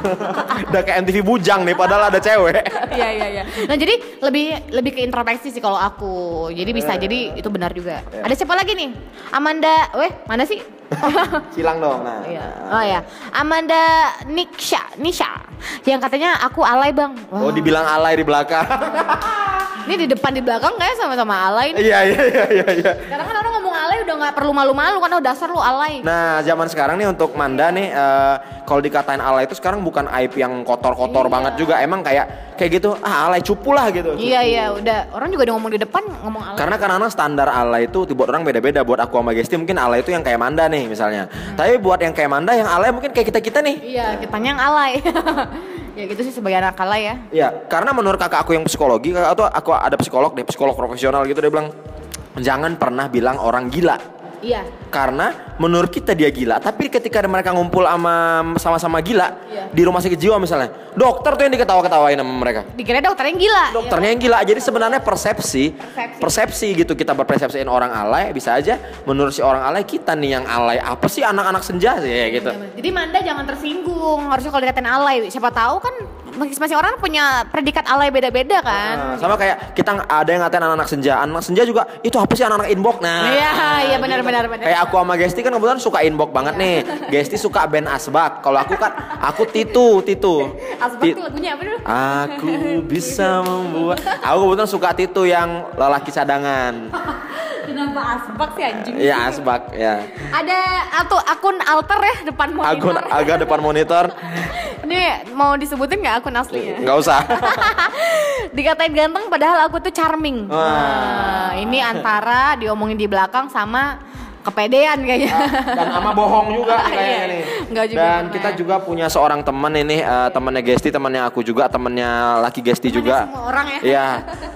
Speaker 2: Udah kayak MTV Bujang nih padahal ada cewek.
Speaker 1: Iya iya iya. Nah jadi lebih lebih ke introspeksi sih kalau aku. Jadi bisa jadi itu benar juga.
Speaker 2: Iya.
Speaker 1: Ada siapa lagi nih? Amanda, weh mana sih?
Speaker 2: Silang dong. Nah.
Speaker 1: Iya. Oh ya, Amanda Niksha, Nisha. Yang katanya aku alay bang. Wah,
Speaker 2: Oh dibilang alay di belakang.
Speaker 1: Ini di depan di belakang kayak sama-sama alay. nih.
Speaker 2: Iya iya iya iya iya.
Speaker 1: Karena kan orang ngomong alay udah nggak perlu malu-malu karena dasar lu alay.
Speaker 2: Nah, zaman sekarang nih untuk Manda nih eh, kalau dikatain alay itu sekarang bukan aib yang kotor-kotor
Speaker 1: Iya.
Speaker 2: banget juga. Emang kayak kayak gitu, ah alay cupu lah gitu.
Speaker 1: Iya iya udah orang juga udah ngomong di depan ngomong alay.
Speaker 2: Oh. Karena karena standar alay itu buat orang beda-beda. Buat aku sama Gesti mungkin alay itu yang kayak Manda nih misalnya. Tapi buat yang kayak Manda yang alay mungkin kayak kita-kita nih.
Speaker 1: Iya kitanya yang alay. ya gitu sih sebagai anak alay ya.
Speaker 2: Iya, karena menurut kakak aku yang psikologi, kakak tuh aku ada psikolog deh, psikolog profesional gitu dia bilang jangan pernah bilang orang gila.
Speaker 1: Iya.
Speaker 2: Karena menurut kita dia gila, tapi ketika mereka ngumpul sama sama-sama gila
Speaker 1: Iya.
Speaker 2: di rumah sakit jiwa misalnya, dokter tuh yang diketawa-ketawain sama mereka.
Speaker 1: Dikira dokter yang gila.
Speaker 2: Dokternya yang gila. Jadi sebenarnya persepsi,
Speaker 1: Persepsi.
Speaker 2: persepsi, gitu kita berpersepsiin orang alay bisa aja menurut si orang alay kita nih yang alay apa sih anak-anak senja sih ya gitu.
Speaker 1: Jadi Manda jangan tersinggung. Harusnya kalau dikatain alay, siapa tahu kan masing-masing orang punya predikat alay beda-beda kan.
Speaker 2: Nah, sama kayak kita ng- ada yang ngatain anak-anak senja, anak senja juga itu apa sih anak-anak inbox nah.
Speaker 1: Iya, iya, benar,
Speaker 2: gitu.
Speaker 1: benar, benar.
Speaker 2: Kayak aku sama Gesti kan kebetulan suka inbox banget nih. Gesti suka band Asbak. Kalau aku kan aku Titu, Titu.
Speaker 1: Asbak
Speaker 2: Ti-
Speaker 1: tuh lagunya apa dulu?
Speaker 2: Ah. Aku bisa membuat. Aku kebetulan suka Titu yang lelaki cadangan.
Speaker 1: Kenapa asbak sih anjing?
Speaker 2: Iya, Asbak ya.
Speaker 1: Ada atau akun alter ya depan
Speaker 2: Akun
Speaker 1: monitor.
Speaker 2: agak depan monitor.
Speaker 1: Ini mau disebutin nggak akun aslinya?
Speaker 2: Nggak usah.
Speaker 1: Dikatain ganteng padahal aku tuh charming.
Speaker 2: Wah.
Speaker 1: Nah, ini antara diomongin di belakang sama kepedean kayaknya.
Speaker 2: Dan ama bohong juga nih kayaknya
Speaker 1: Iya.
Speaker 2: nih.
Speaker 1: Nggak juga
Speaker 2: Dan
Speaker 1: sama
Speaker 2: kita
Speaker 1: ya.
Speaker 2: juga punya seorang teman ini eh, temannya Gesti, temannya aku juga, temannya laki Gesti
Speaker 1: Temannya
Speaker 2: juga.
Speaker 1: semua orang ya.
Speaker 2: Iya.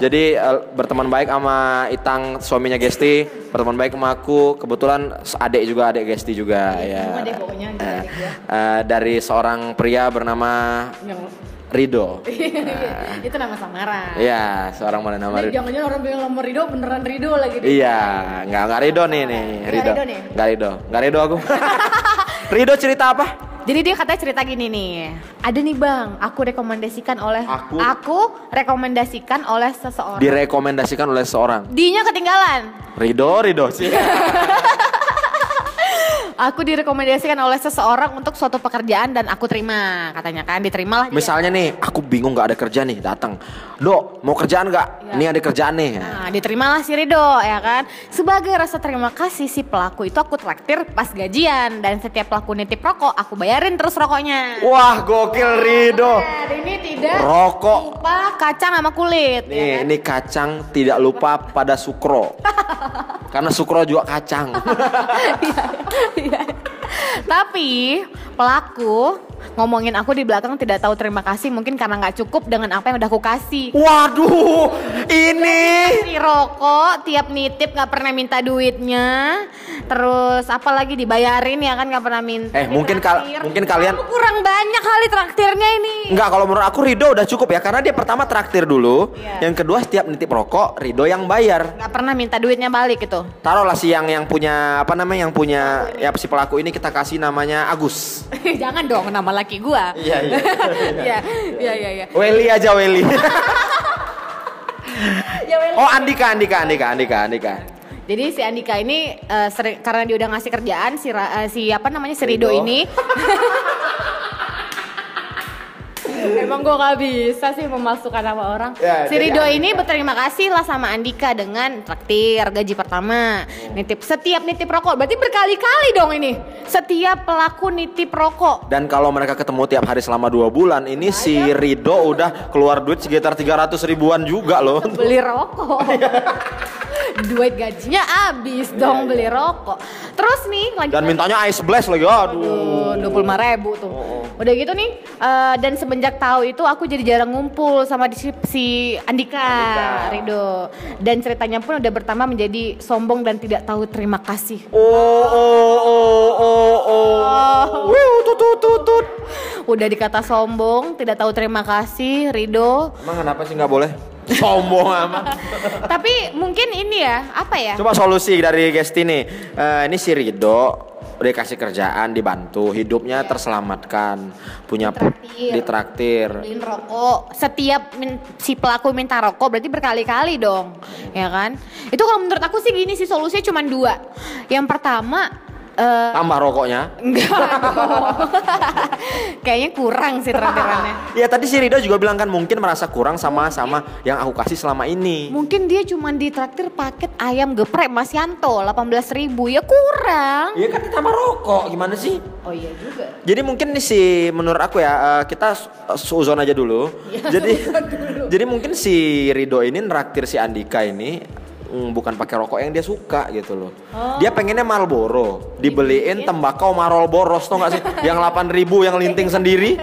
Speaker 2: Jadi eh, berteman baik sama Itang suaminya Gesti, berteman baik sama aku. Kebetulan adik juga adik Gesti juga
Speaker 1: Iya,
Speaker 2: ya.
Speaker 1: semua deh pokoknya adik-
Speaker 2: Eh,
Speaker 1: adik gua.
Speaker 2: eh, dari seorang pria bernama
Speaker 1: Yang-
Speaker 2: Rido.
Speaker 1: Iya. itu nama samaran.
Speaker 2: Iya, seorang bernama Rido.
Speaker 1: Jangan-jangan orang bilang nomor Rido beneran Rido lagi. di-
Speaker 2: Iya, nggak nggak Rido nih nih,
Speaker 1: Nggak
Speaker 2: Rido,
Speaker 1: Rido nih?
Speaker 2: nggak Rido, nggak Rido aku. Rido cerita apa?
Speaker 1: Jadi dia katanya cerita gini nih. Ada nih bang, aku rekomendasikan oleh
Speaker 2: Aku-
Speaker 1: rekomendasikan oleh seseorang.
Speaker 2: Direkomendasikan oleh seorang
Speaker 1: Dinya ketinggalan.
Speaker 2: Rido, Rido sih.
Speaker 1: Aku direkomendasikan oleh seseorang untuk suatu pekerjaan dan aku terima katanya kan diterimalah. dia.
Speaker 2: Misalnya nih, aku bingung nggak ada kerja nih, datang. Do, mau kerjaan nggak? Ini ada kerjaan nih.
Speaker 1: Nah, diterimalah si Rido ya kan. Sebagai rasa terima kasih si pelaku itu aku traktir pas gajian dan setiap pelaku nitip rokok aku bayarin terus rokoknya.
Speaker 2: Wah, gokil Rido.
Speaker 1: Nah, ini tidak
Speaker 2: Rokok.
Speaker 1: lupa kacang sama kulit. ya
Speaker 2: Nih,
Speaker 1: kan?
Speaker 2: ini kacang tidak lupa pada sukro. Karena sukro juga kacang.
Speaker 1: Iya, iya. Tapi pelaku ngomongin aku di belakang tidak tahu terima kasih mungkin karena nggak cukup dengan apa yang udah aku kasih.
Speaker 2: Waduh, ini.
Speaker 1: Kasih rokok, tiap nitip nggak pernah minta duitnya. Terus apalagi dibayarin ya kan nggak pernah minta.
Speaker 2: Eh, mungkin kal-
Speaker 1: Ditraktir.
Speaker 2: mungkin kalian-
Speaker 1: Kamu kurang banyak kali traktirnya ini.
Speaker 2: Enggak, kalau menurut aku Rido udah cukup ya karena dia pertama traktir dulu,
Speaker 1: Iya.
Speaker 2: yang kedua setiap nitip rokok Rido yang bayar.
Speaker 1: Nggak pernah minta duitnya balik gitu.
Speaker 2: Taruhlah si yang yang punya apa namanya yang punya ya si pelaku ini kita kasih namanya Agus.
Speaker 1: Jangan dong nama laki gua.
Speaker 2: Iya iya.
Speaker 1: Iya, iya, iya, iya.
Speaker 2: Weli aja Weli.
Speaker 1: Ya, Wel.
Speaker 2: oh Andika Andika Andika Andika Andika.
Speaker 1: Jadi si Andika ini eh, sering- karena dia udah ngasih kerjaan si Ra- eh, si apa namanya si Rido,
Speaker 2: Rido.
Speaker 1: ini. Emang gue gak bisa sih memasukkan nama orang.
Speaker 2: Ya,
Speaker 1: si
Speaker 2: jadi
Speaker 1: Rido
Speaker 2: Andika.
Speaker 1: ini berterima kasih lah sama Andika dengan traktir gaji pertama,
Speaker 2: Oh.
Speaker 1: nitip setiap nitip rokok. Berarti berkali-kali dong ini. Setiap pelaku nitip rokok.
Speaker 2: Dan kalau mereka ketemu tiap hari selama dua bulan, ini si Rido udah keluar duit sekitar 300 ribuan juga loh.
Speaker 1: beli rokok. Duit gajinya habis
Speaker 2: Iya,
Speaker 1: dong beli rokok. Terus nih lanjut.
Speaker 2: Dan mintanya ice blast lagi. Aduh.
Speaker 1: dua puluh ribu tuh.
Speaker 2: Oh,
Speaker 1: Udah gitu nih, eh, dan semenjak tahu itu aku jadi jarang ngumpul sama di, si Andika, Rido. Dan ceritanya pun udah bertambah menjadi sombong dan tidak tahu terima kasih.
Speaker 2: Oh oh oh oh oh. Wuh, tut tut tut tut.
Speaker 1: Udah dikata sombong, tidak tahu terima kasih, Rido.
Speaker 2: Emang kenapa sih nggak boleh? Sombong amat.
Speaker 1: Tapi mungkin ini ya, apa
Speaker 2: Eh.
Speaker 1: ya?
Speaker 2: Coba solusi dari Gesti nih. Eh, ini si Rido udah kasih kerjaan dibantu hidupnya terselamatkan punya
Speaker 1: Ditraktir.
Speaker 2: ditraktir
Speaker 1: beliin rokok setiap min- si pelaku minta rokok berarti berkali-kali dong ya kan itu kalau menurut aku sih gini sih solusinya cuma dua yang pertama eh
Speaker 2: Tambah rokoknya.
Speaker 1: enggak dong. Kayaknya kurang sih traktirannya.
Speaker 2: Ya tadi si Rido juga bilang kan mungkin merasa kurang sama sama yang aku kasih selama ini.
Speaker 1: Mungkin dia cuma ditraktir paket ayam geprek Mas Yanto 18.000 ya kurang.
Speaker 2: Iya kan tambah rokok gimana sih?
Speaker 1: Oh iya juga.
Speaker 2: Jadi mungkin nih si menurut aku ya eh, kita su- suzon aja dulu. jadi jadi mungkin si Rido ini neraktir si Andika ini mm, bukan pakai rokok yang dia suka gitu loh. Dia pengennya Marlboro, dibeliin tembakau Marlboro tau gak sih? yang 8000 yang linting sendiri.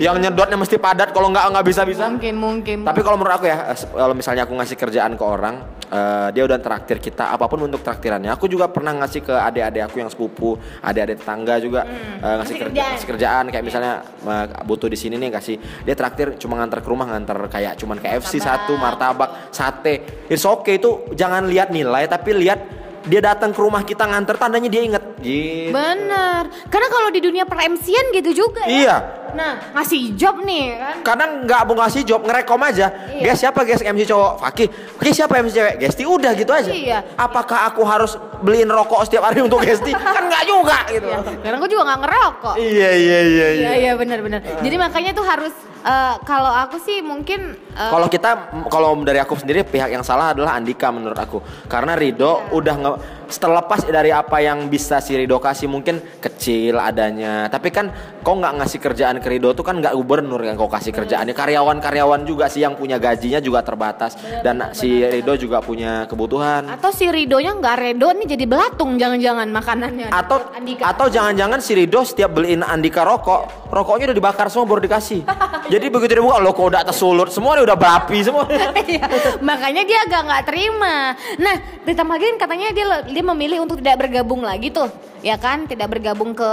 Speaker 2: yang nyedotnya mesti padat kalau nggak nggak bisa-bisa.
Speaker 1: Mungkin mungkin.
Speaker 2: Tapi kalau menurut aku ya, eh, se- kalau misalnya aku ngasih kerjaan ke orang, eh, dia udah traktir kita apapun untuk traktirannya. Aku juga pernah ngasih ke adik-adik aku yang sepupu, adik-adik tetangga juga eh, ngasih
Speaker 1: ngasih
Speaker 2: kerja,
Speaker 1: kerjaan.
Speaker 2: ngasih kerjaan kayak misalnya eh, butuh di sini nih kasih. Dia traktir cuma ngantar ke rumah, ngantar kayak cuman KFC satu, martabak, sate. It's okay itu jangan lihat nilai tapi lihat dia datang ke rumah kita nganter tandanya dia inget
Speaker 1: ya?
Speaker 2: gitu.
Speaker 1: Bener. Karena kalau di dunia per MC-an gitu juga ya.
Speaker 2: Iya.
Speaker 1: Nah, ngasih job nih kan.
Speaker 2: kadang nggak mau ngasih job ngerekom aja
Speaker 1: Iya.
Speaker 2: guys siapa guys MC cowok Fakih Fakih siapa MC cewek Gesti udah gitu aja
Speaker 1: Iya.
Speaker 2: apakah aku harus beliin rokok setiap hari untuk Gesti kan nggak juga gitu
Speaker 1: Iya. Karena gue juga nggak ngerokok.
Speaker 2: iya iya iya, iya.
Speaker 1: Iya iya benar-benar. Jadi makanya tuh harus eh, kalau aku sih mungkin eh,
Speaker 2: Kalau kita, kalau dari aku sendiri pihak yang salah adalah Andika menurut aku, karena
Speaker 1: Iya.
Speaker 2: Rido udah nge, setelah lepas dari apa yang bisa si Rido kasih mungkin kecil adanya, tapi kan kau nggak ngasih kerjaan ke Rido tuh kan nggak gubernur yang kau
Speaker 1: Iya.
Speaker 2: kasih kerjaannya, karyawan-karyawan juga sih yang punya gajinya juga terbatas
Speaker 1: Iya,
Speaker 2: dan si Rido juga punya kebutuhan.
Speaker 1: atau si Ridonya nggak redo nih jadi belatung jangan-jangan makanannya.
Speaker 2: Atau
Speaker 1: Andika.
Speaker 2: atau jangan-jangan si Rido setiap beliin Andika rokok, rokoknya udah dibakar semua baru dikasih. Jadi begitu dibuka lo kok udah tersulut, semua udah berapi semua.
Speaker 1: Iya, makanya dia agak nggak terima. Nah, ditambah lagi kan katanya dia dia memilih untuk tidak bergabung lagi tuh, ya kan? Tidak bergabung ke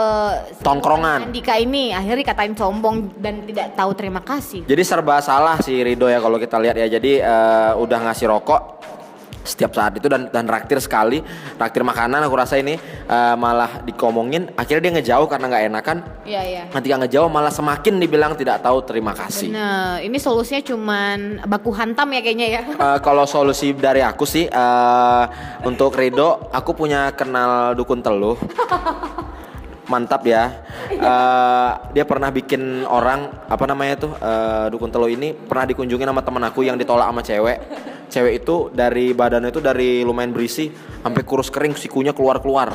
Speaker 2: Tongkrongan.
Speaker 1: Andika ini akhirnya dikatain sombong dan tidak tahu terima kasih.
Speaker 2: Jadi serba salah si Rido ya kalau kita lihat ya. Jadi eh, udah ngasih rokok setiap saat itu dan dan raktir sekali, raktir makanan aku rasa ini eh, malah dikomongin. Akhirnya dia ngejauh karena nggak enakan.
Speaker 1: Iya iya.
Speaker 2: Ketika ngejauh malah semakin dibilang tidak tahu terima kasih.
Speaker 1: Nah, ini solusinya cuman baku hantam ya kayaknya ya.
Speaker 2: Eh, kalau solusi dari aku sih eh, untuk Rido, aku punya kenal dukun teluh. Mantap ya. Eh, dia pernah bikin orang apa namanya tuh eh, dukun teluh ini pernah dikunjungi sama teman aku yang ditolak sama cewek. Cewek itu dari badannya itu dari lumayan berisi sampai kurus kering sikunya keluar-keluar.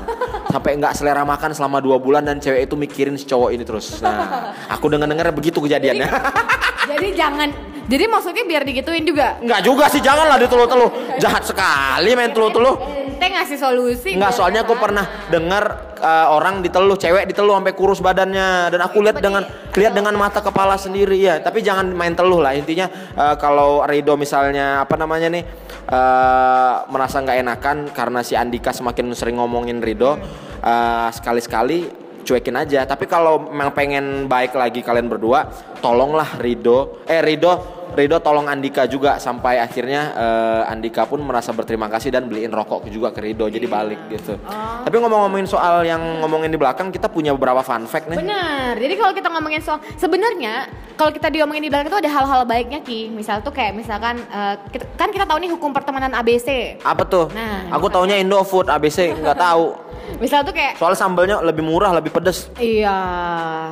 Speaker 2: Sampai nggak selera makan selama dua bulan dan cewek itu mikirin si cowok ini terus. Nah, aku dengar-dengar begitu kejadiannya.
Speaker 1: jadi jangan jadi maksudnya biar digituin juga.
Speaker 2: Enggak juga sih, janganlah diteluh-teluh. Jahat sekali main teluh-teluh.
Speaker 1: Ente ngasih solusi.
Speaker 2: Enggak,
Speaker 1: biar
Speaker 2: soalnya aku
Speaker 1: orang.
Speaker 2: pernah dengar uh, orang diteluh, cewek diteluh sampai kurus badannya dan aku lihat dengan lihat dengan mata kepala sendiri ya. Tapi jangan main teluh lah intinya uh, kalau Rido misalnya apa namanya nih uh, merasa nggak enakan karena si Andika semakin sering ngomongin Rido uh, sekali-sekali cuekin aja. Tapi kalau memang pengen baik lagi kalian berdua, tolonglah Rido. Eh Rido, Rido tolong Andika juga sampai akhirnya eh, Andika pun merasa berterima kasih dan beliin rokok juga ke Rido. Jadi balik gitu. Tapi ngomong-ngomongin soal yang ngomongin di belakang, kita punya beberapa fun fact nih.
Speaker 1: Benar. Jadi kalau kita ngomongin soal sebenarnya kalau kita diomongin di belakang itu ada hal-hal baiknya Ki. Misal tuh kayak misalkan eh, kita- kan kita tahu nih hukum pertemanan ABC.
Speaker 2: Apa tuh?
Speaker 1: Nah,
Speaker 2: Aku taunya Indofood ABC nggak tahu.
Speaker 1: Misal tuh kayak
Speaker 2: Soal sambelnya lebih murah, lebih pedes.
Speaker 1: Iya,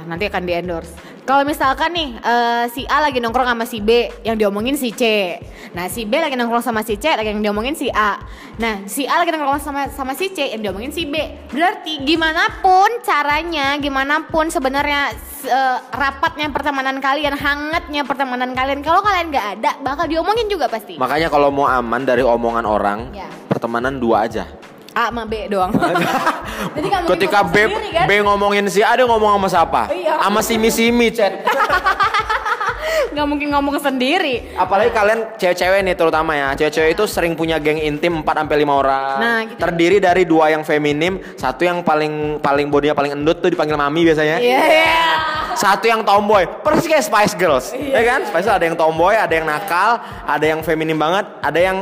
Speaker 1: nanti akan di endorse. Kalau misalkan nih eh, si A lagi nongkrong sama si B, yang diomongin si C. Nah si B lagi nongkrong sama si C, lagi yang diomongin si A. Nah si A lagi nongkrong sama sama si C, yang diomongin si B. Berarti gimana pun caranya, gimana pun sebenarnya s- eh, rapatnya pertemanan kalian, hangatnya pertemanan kalian, kalau kalian nggak ada, bakal diomongin juga pasti.
Speaker 2: Makanya kalau mau aman dari omongan orang,
Speaker 1: Ya.
Speaker 2: pertemanan dua aja.
Speaker 1: A sama B doang. Jadi nggak mungkin
Speaker 2: Ketika
Speaker 1: ngomong
Speaker 2: B,
Speaker 1: sendiri, kan?
Speaker 2: B ngomongin si A, dia ngomong sama siapa?
Speaker 1: Iya.
Speaker 2: Sama si Mimi Chat.
Speaker 1: nggak mungkin ngomong sendiri.
Speaker 2: Apalagi kalian cewek-cewek nih terutama ya. Cewek-cewek itu sering punya geng intim 4 sampai 5 orang.
Speaker 1: Nah, gitu.
Speaker 2: Terdiri dari dua Eh. yang feminim, satu yang paling paling bodinya paling endut tuh dipanggil mami biasanya.
Speaker 1: Iya.
Speaker 2: Satunya satu yang tomboy persis kayak Spice Girls ya kan Spice Girls ada yang tomboy ada yang nakal ada yang feminim banget ada yang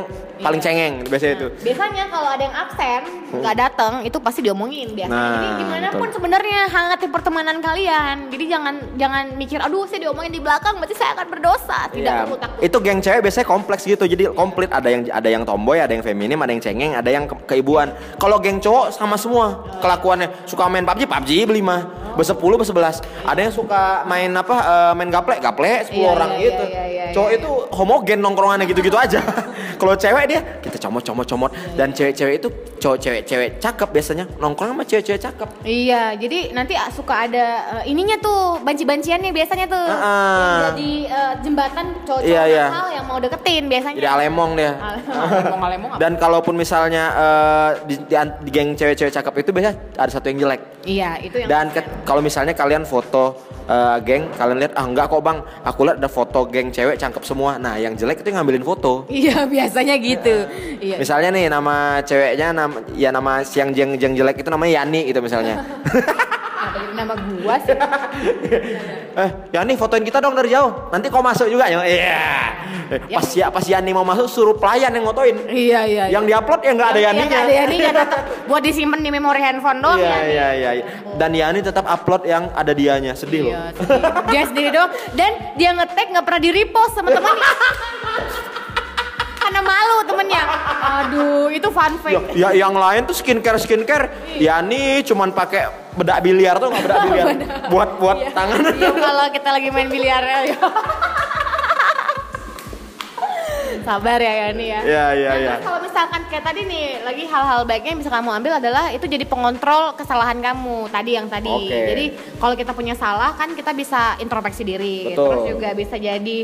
Speaker 2: paling cengeng biasanya itu
Speaker 1: Biasanya kalau ada yang absen, nggak datang, itu pasti diomongin biasanya.
Speaker 2: Nah,
Speaker 1: Jadi gimana
Speaker 2: betul.
Speaker 1: pun sebenarnya hangatin pertemanan kalian. Jadi jangan jangan mikir, aduh saya diomongin di belakang, berarti saya akan berdosa. Tidak
Speaker 2: Iya.
Speaker 1: perlu takut.
Speaker 2: Itu geng cewek biasanya kompleks gitu. Jadi komplit ada yang ada yang tomboy, ada yang feminim, ada yang cengeng, ada yang ke- keibuan. Kalau geng cowok sama semua kelakuannya. Suka main PUBG, PUBG beli mah. Bersepuluh, bersebelas. Ada yang suka main apa? eh, main gaplek, gaplek 10
Speaker 1: Iya,
Speaker 2: orang
Speaker 1: iya,
Speaker 2: gitu.
Speaker 1: iya, iya,
Speaker 2: cowok
Speaker 1: iya,
Speaker 2: itu homogen nongkrongannya gitu-gitu aja. Kalau cewek dia kita comot-comot-comot dan cewek-cewek itu cowok cewek-cewek cakep biasanya nongkrong sama cewek-cewek cakep.
Speaker 1: Iya, jadi nanti ah, suka ada eh, ininya tuh banci-banciannya biasanya tuh.
Speaker 2: Ah, ah.
Speaker 1: Yang Iya. Jadi eh, jembatan cowok-cowok
Speaker 2: Iya, iya.
Speaker 1: nakal yang mau deketin biasanya.
Speaker 2: Jadi alemong dia.
Speaker 3: Ngomong-ngomong apa?
Speaker 2: Dan kalaupun misalnya eh, di, di, di geng cewek-cewek cakep itu biasanya ada satu yang jelek.
Speaker 1: Iya, itu yang
Speaker 2: Dan ke- kalau misalnya kalian foto eh, geng, kalian lihat ah enggak kok bang, aku lihat ada foto geng cewek cakep semua. Nah yang jelek itu yang ngambilin foto.
Speaker 3: Iya biasanya gitu. Iya.
Speaker 2: Misalnya nih nama ceweknya nama ya nama siang jeng jeng jelek itu namanya Yani gitu misalnya.
Speaker 1: Kenapa jadi nama gua sih?
Speaker 2: eh Yani fotoin kita dong dari jauh. Nanti kau masuk juga ya. Iya. Eh, Pas ya pas Yani mau masuk suruh pelayan yang ngotoin.
Speaker 3: Iya iya.
Speaker 2: Yang diupload ya nggak ada
Speaker 1: Yang
Speaker 2: Yaninya.
Speaker 1: ada Yaninya datang buat disimpan di memori handphone doang ya.
Speaker 2: Iya
Speaker 1: Yani.
Speaker 2: iya iya. iya. Dan Yani tetap upload yang ada dianya. Sedih loh.
Speaker 3: Iya,
Speaker 1: dia sendiri doang dan dia ngetek nggak pernah di repost sama temennya karena malu temennya aduh itu fun
Speaker 2: Ya,
Speaker 1: fact
Speaker 2: ya, yang lain tuh skincare skincare. Yani cuman pakai bedak biliar tuh nggak bedak biliar. buat buat tangan.
Speaker 1: Iya, kalau kita lagi main biliar ya sabar ya Yani ya
Speaker 2: Iya iya
Speaker 1: Nah,
Speaker 2: iya.
Speaker 1: terus kalau misalkan kayak tadi nih lagi hal-hal baiknya yang bisa kamu ambil adalah itu jadi pengontrol kesalahan kamu tadi yang tadi.
Speaker 2: Oke.
Speaker 1: Jadi kalau kita punya salah kan kita bisa introspeksi diri.
Speaker 2: Betul.
Speaker 1: Terus juga bisa jadi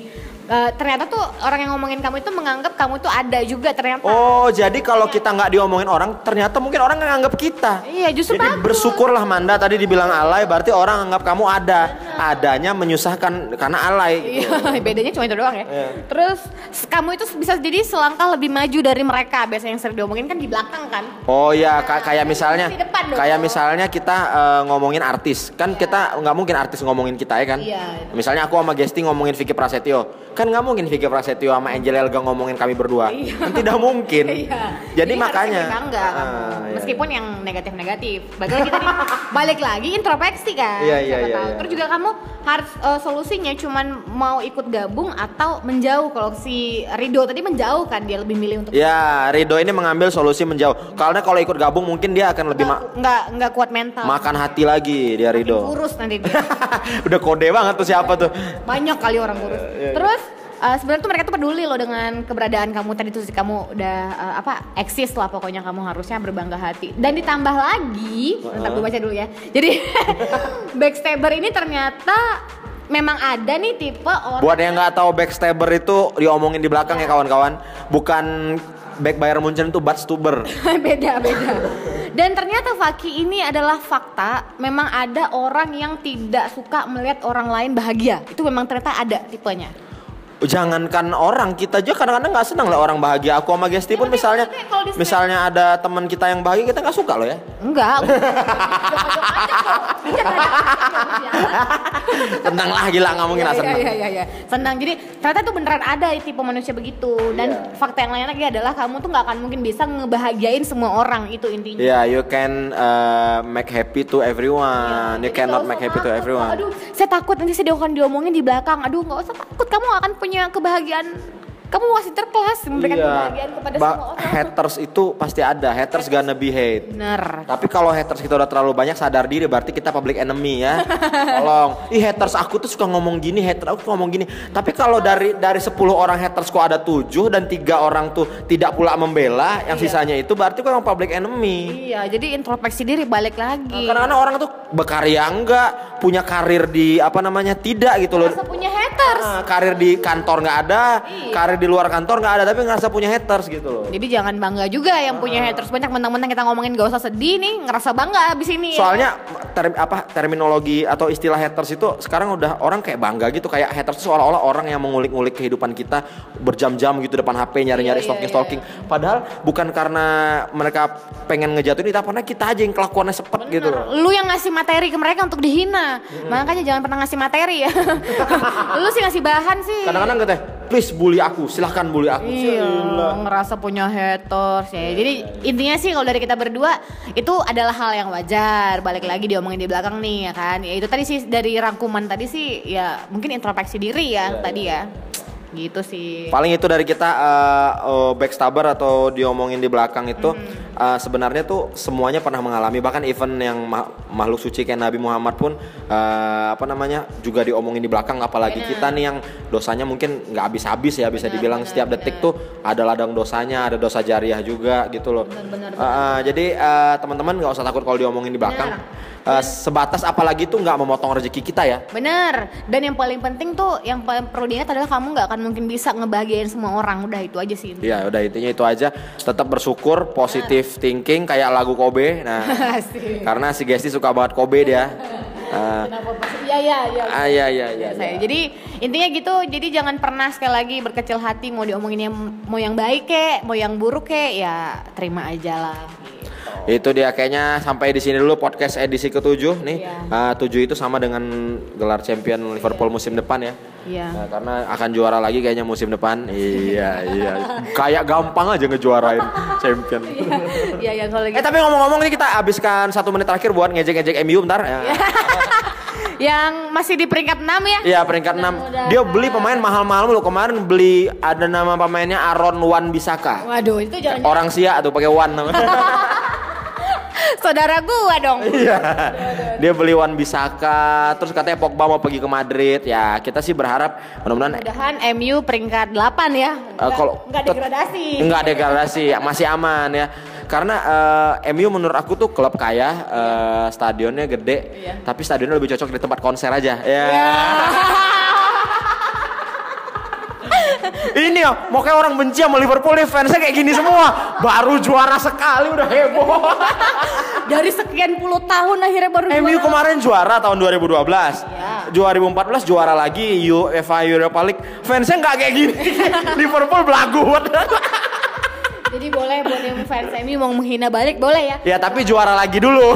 Speaker 1: eh, ternyata tuh orang yang ngomongin kamu itu menganggap kamu tuh ada juga ternyata.
Speaker 2: Oh jadi kalau kita nggak diomongin orang, ternyata mungkin orang nggak nganggap kita.
Speaker 1: Iya, justru
Speaker 2: Jadi
Speaker 1: bagus.
Speaker 2: bersyukurlah Manda tadi dibilang alay, berarti orang anggap kamu ada. Adanya menyusahkan karena alay. gitu.
Speaker 1: Iya, bedanya cuma itu doang ya.
Speaker 2: Iya.
Speaker 1: Terus s- kamu itu bisa jadi selangkah lebih maju dari mereka. Biasanya yang sering diomongin kan di belakang kan.
Speaker 2: Oh ya, ka- kayak
Speaker 1: Nah,
Speaker 2: misalnya,
Speaker 1: di depan dong.
Speaker 2: kayak misalnya kita eh, ngomongin artis, kan kita nggak mungkin artis ngomongin kita ya kan?
Speaker 1: Iya.
Speaker 2: Misalnya aku sama Gesti ngomongin Vicky Prasetyo, kan nggak mungkin Vicky Prasetyo sama Angel Elga ngomongin kami berdua,
Speaker 1: Iya.
Speaker 2: kan tidak mungkin. Jadi,
Speaker 1: harus
Speaker 2: makanya.
Speaker 1: yang bangga kan?
Speaker 2: Ah,
Speaker 1: kamu.
Speaker 2: iya.
Speaker 1: Meskipun yang negatif-negatif. Balik lagi tadi balik lagi introspeksi kan.
Speaker 2: Iya,
Speaker 1: siapa
Speaker 2: iya, iya,
Speaker 1: tahu.
Speaker 2: iya.
Speaker 1: Terus juga kamu harus eh, solusinya cuman mau ikut gabung atau menjauh. Kalau si Rido tadi menjauh kan dia lebih milih untuk
Speaker 2: Ya, Rido ini mengambil solusi menjauh. Karena kalau ikut gabung mungkin dia akan lebih ma-
Speaker 1: nggak nggak kuat mental.
Speaker 2: makan hati lagi dia Rido.
Speaker 1: kurus nanti dia.
Speaker 2: Udah kode banget tuh siapa tuh.
Speaker 1: banyak kali orang kurus. Terus eh, sebenarnya tuh mereka tuh peduli loh dengan keberadaan kamu tadi tuh kamu udah eh, apa eksis lah pokoknya kamu harusnya berbangga hati. Dan ditambah lagi, bentar gue baca dulu ya. Jadi backstabber ini ternyata memang ada nih tipe orang
Speaker 2: Buat yang nggak tahu backstabber itu diomongin di belakang ya kawan-kawan, bukan back Bayern Munchen itu buttstuber.
Speaker 1: beda beda. Dan ternyata Faki ini adalah fakta, memang ada orang yang tidak suka melihat orang lain bahagia. Itu memang ternyata ada tipenya.
Speaker 2: Jangankan orang kita aja kadang-kadang nggak senang lah orang bahagia. Aku sama Gesti pun
Speaker 1: tapi
Speaker 2: misalnya
Speaker 1: maksudnya kalau di snap-
Speaker 2: misalnya ada teman kita yang bahagia kita nggak suka loh ya.
Speaker 1: Enggak. gua- Jok-jok aja kok. Bercanda aja.
Speaker 2: Tenang lah gila nggak mungkin
Speaker 1: Iya,
Speaker 2: lah senang.
Speaker 1: Iya, iya, iya. Senang. Jadi ternyata tuh beneran ada tipe manusia begitu. Dan
Speaker 2: Iya.
Speaker 1: fakta yang lain lagi adalah kamu tuh nggak akan mungkin bisa ngebahagiain semua orang itu intinya.
Speaker 2: Yeah, Iya, you can uh, make happy to everyone. you
Speaker 1: Iya, Jadi
Speaker 2: cannot
Speaker 1: nggak
Speaker 2: make
Speaker 1: usah
Speaker 2: happy to
Speaker 1: takut.
Speaker 2: everyone.
Speaker 1: Aduh, saya takut nanti saya akan diomongin di belakang. Aduh, nggak usah takut. Kamu akan punya kebahagiaan. Kamu masih terkelas memberikan kebahagiaan kepada
Speaker 2: Iya. Ba-
Speaker 1: semua orang.
Speaker 2: Haters itu pasti ada. Haters gonna be hate.
Speaker 1: Bener.
Speaker 2: Tapi kalau haters kita udah terlalu banyak sadar diri berarti kita public enemy ya. Tolong. Ih haters aku tuh suka ngomong gini, hater aku suka ngomong gini. Tapi kalau dari dari 10 orang haters kok ada 7 dan tiga orang tuh tidak pula membela, yang sisanya itu berarti kok emang public enemy.
Speaker 1: Iya, jadi introspeksi diri balik lagi.
Speaker 2: Karena orang tuh berkarya enggak, punya karir di apa namanya? tidak gitu loh.
Speaker 1: Masa punya haters.
Speaker 2: Ah, karir di kantor nggak ada, karir di luar kantor nggak ada, tapi ngerasa punya haters gitu loh.
Speaker 1: Jadi jangan
Speaker 2: Nah.
Speaker 1: bangga juga yang punya haters banyak mentang-mentang kita ngomongin gak usah sedih nih, ngerasa bangga abis ini. ya.
Speaker 2: Soalnya term- apa terminologi atau istilah haters itu sekarang udah orang kayak bangga gitu kayak haters itu seolah-olah orang yang mengulik-ulik kehidupan kita berjam-jam gitu depan HP nyari-nyari
Speaker 1: Iya, iya,
Speaker 2: stalking-stalking. Padahal bukan karena mereka pengen ngejatuhin kita, karena kita aja yang kelakuannya sepet gitu loh.
Speaker 1: Lu yang ngasih materi ke mereka untuk dihina. Makanya jangan pernah ngasih materi ya. lu sih ngasih bahan sih.
Speaker 2: Kadang-kadang kata, please bully aku, silahkan bully aku. Sialah.
Speaker 1: Iya, ngerasa punya haters ya. Jadi intinya sih kalau dari kita berdua itu adalah hal yang wajar. Balik lagi diomongin di belakang nih ya kan. Ya itu tadi sih dari rangkuman tadi sih ya mungkin introspeksi diri ya tadi ya. Gitu sih.
Speaker 2: Paling itu dari kita eh, eh, backstabber atau diomongin di belakang itu eh, sebenarnya tuh semuanya pernah mengalami bahkan event yang ma- makhluk suci kayak Nabi Muhammad pun eh, apa namanya juga diomongin di belakang apalagi kita nih yang dosanya mungkin nggak habis-habis ya bisa dibilang setiap detik tuh ada ladang dosanya ada dosa jariah juga gitu loh. Eh, eh, jadi eh, teman-teman nggak usah takut kalau diomongin di belakang. Eh, sebatas apalagi tuh nggak memotong rezeki kita ya.
Speaker 1: Bener. Dan yang paling penting tuh yang paling perlu diingat adalah kamu nggak akan mungkin bisa ngebahagiain semua orang. Udah itu aja sih.
Speaker 2: Ya udah intinya itu aja. Tetap bersyukur, positif thinking kayak lagu Kobe. Nah,
Speaker 1: Asik.
Speaker 2: karena si Gesti suka banget Kobe dia. Nah,
Speaker 1: Kenapa pas? Iya iya iya.
Speaker 2: ah ya ya ya.
Speaker 1: saya. Jadi intinya gitu, jadi jangan pernah sekali lagi berkecil hati mau diomongin yang mau yang baik kek, mau yang buruk kek, ya terima aja lah. gitu.
Speaker 2: Itu dia kayaknya sampai di sini dulu podcast edisi ketujuh nih.
Speaker 1: Iya.
Speaker 2: Ah, tujuh itu sama dengan gelar champion Liverpool musim depan ya.
Speaker 1: Iya.
Speaker 2: Nah, karena akan juara lagi kayaknya musim depan. Iya iya. Kayak gampang aja ngejuarain champion.
Speaker 1: Iya ya kalau
Speaker 2: Eh
Speaker 1: gitu.
Speaker 2: tapi ngomong-ngomong nih kita habiskan satu menit terakhir buat ngejek-ngejek MU bentar ya.
Speaker 1: Iya. Yang masih di peringkat 6 ya.
Speaker 2: Iya peringkat 6 Dia beli pemain mahal-mahal loh Kemarin beli ada nama pemainnya Aaron Wan Bisaka
Speaker 1: Waduh, itu jangan
Speaker 2: Orang sia tuh pakai Wan namanya
Speaker 1: saudara gua dong.
Speaker 2: Iya. Dia beli Wan Bisaka Terus katanya Pogba mau pergi ke Madrid Ya kita sih berharap Mudah-mudahan
Speaker 1: Mudahan MU peringkat 8 ya.
Speaker 2: Eh, kalau-
Speaker 1: enggak degradasi.
Speaker 2: Enggak ada garasi, masih aman ya. Karena eh, MU menurut aku tuh klub kaya, eh, stadionnya gede, tapi stadionnya lebih cocok di tempat konser aja. Ya. Ini ya, mau kayak orang benci sama Liverpool nih fansnya kayak gini semua. Baru juara sekali udah heboh.
Speaker 1: Dari sekian puluh tahun akhirnya baru
Speaker 2: MU
Speaker 1: juara.
Speaker 2: kemarin juara tahun 2012. 2014 juara lagi UEFA Europa League. Fansnya nggak kayak gini. Liverpool belagu banget.
Speaker 1: Jadi boleh buat yang fans MU mau menghina balik boleh
Speaker 2: Ya
Speaker 1: ya.
Speaker 2: tapi juara lagi dulu.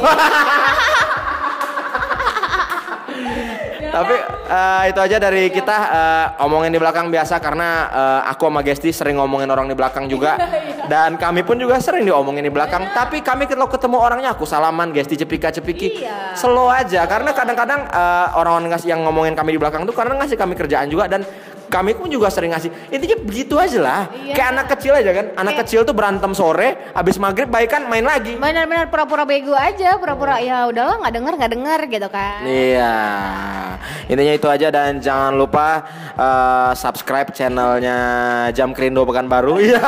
Speaker 2: tapi eh, itu aja dari kita eh, omongin di belakang biasa karena eh, aku sama Gesti sering ngomongin orang di belakang juga
Speaker 1: Iya,
Speaker 2: dan kami pun juga sering diomongin di belakang tapi kami kalau ketemu orangnya aku salaman Gesti cepika cepiki
Speaker 1: Iya.
Speaker 2: slow aja karena kadang-kadang eh, orang-orang ngas- yang ngomongin kami di belakang tuh karena ngasih kami kerjaan juga dan kami pun juga sering ngasih intinya begitu aja lah
Speaker 1: Iya.
Speaker 2: kayak anak kecil aja kan anak
Speaker 1: Kayak-
Speaker 2: kecil tuh berantem sore habis maghrib baikan main lagi
Speaker 1: Benar-benar pura-pura bego aja, pura-pura ya udahlah nggak denger nggak denger gitu kan.
Speaker 2: Iya. Intinya itu aja dan jangan lupa eh, subscribe channelnya Jam Krindo Pekanbaru. Iya.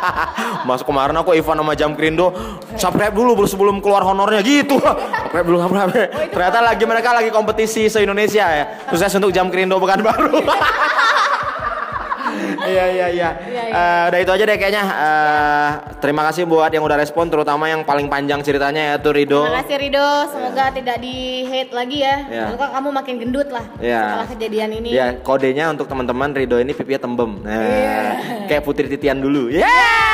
Speaker 2: Mas kemarin aku Ivan sama Jam Krindo subscribe dulu baru sebelum keluar honornya gitu. subscribe dulu subscribe. Ternyata lagi mereka lagi kompetisi se-Indonesia ya. Sukses untuk Jam Krindo Pekanbaru. Iya iya iya. Eh, Udah itu aja deh kayaknya. Eh, terima kasih buat yang udah respon, terutama yang paling panjang ceritanya yaitu Rido.
Speaker 1: Terima kasih Rido, semoga tidak di hate lagi ya.
Speaker 2: Ya.
Speaker 1: Semoga kamu makin gendut lah
Speaker 2: Ya.
Speaker 1: setelah kejadian ini.
Speaker 2: Ya, kodenya untuk teman-teman Rido ini pipinya tembem. Nah, kayak Putri Titian dulu. Ya.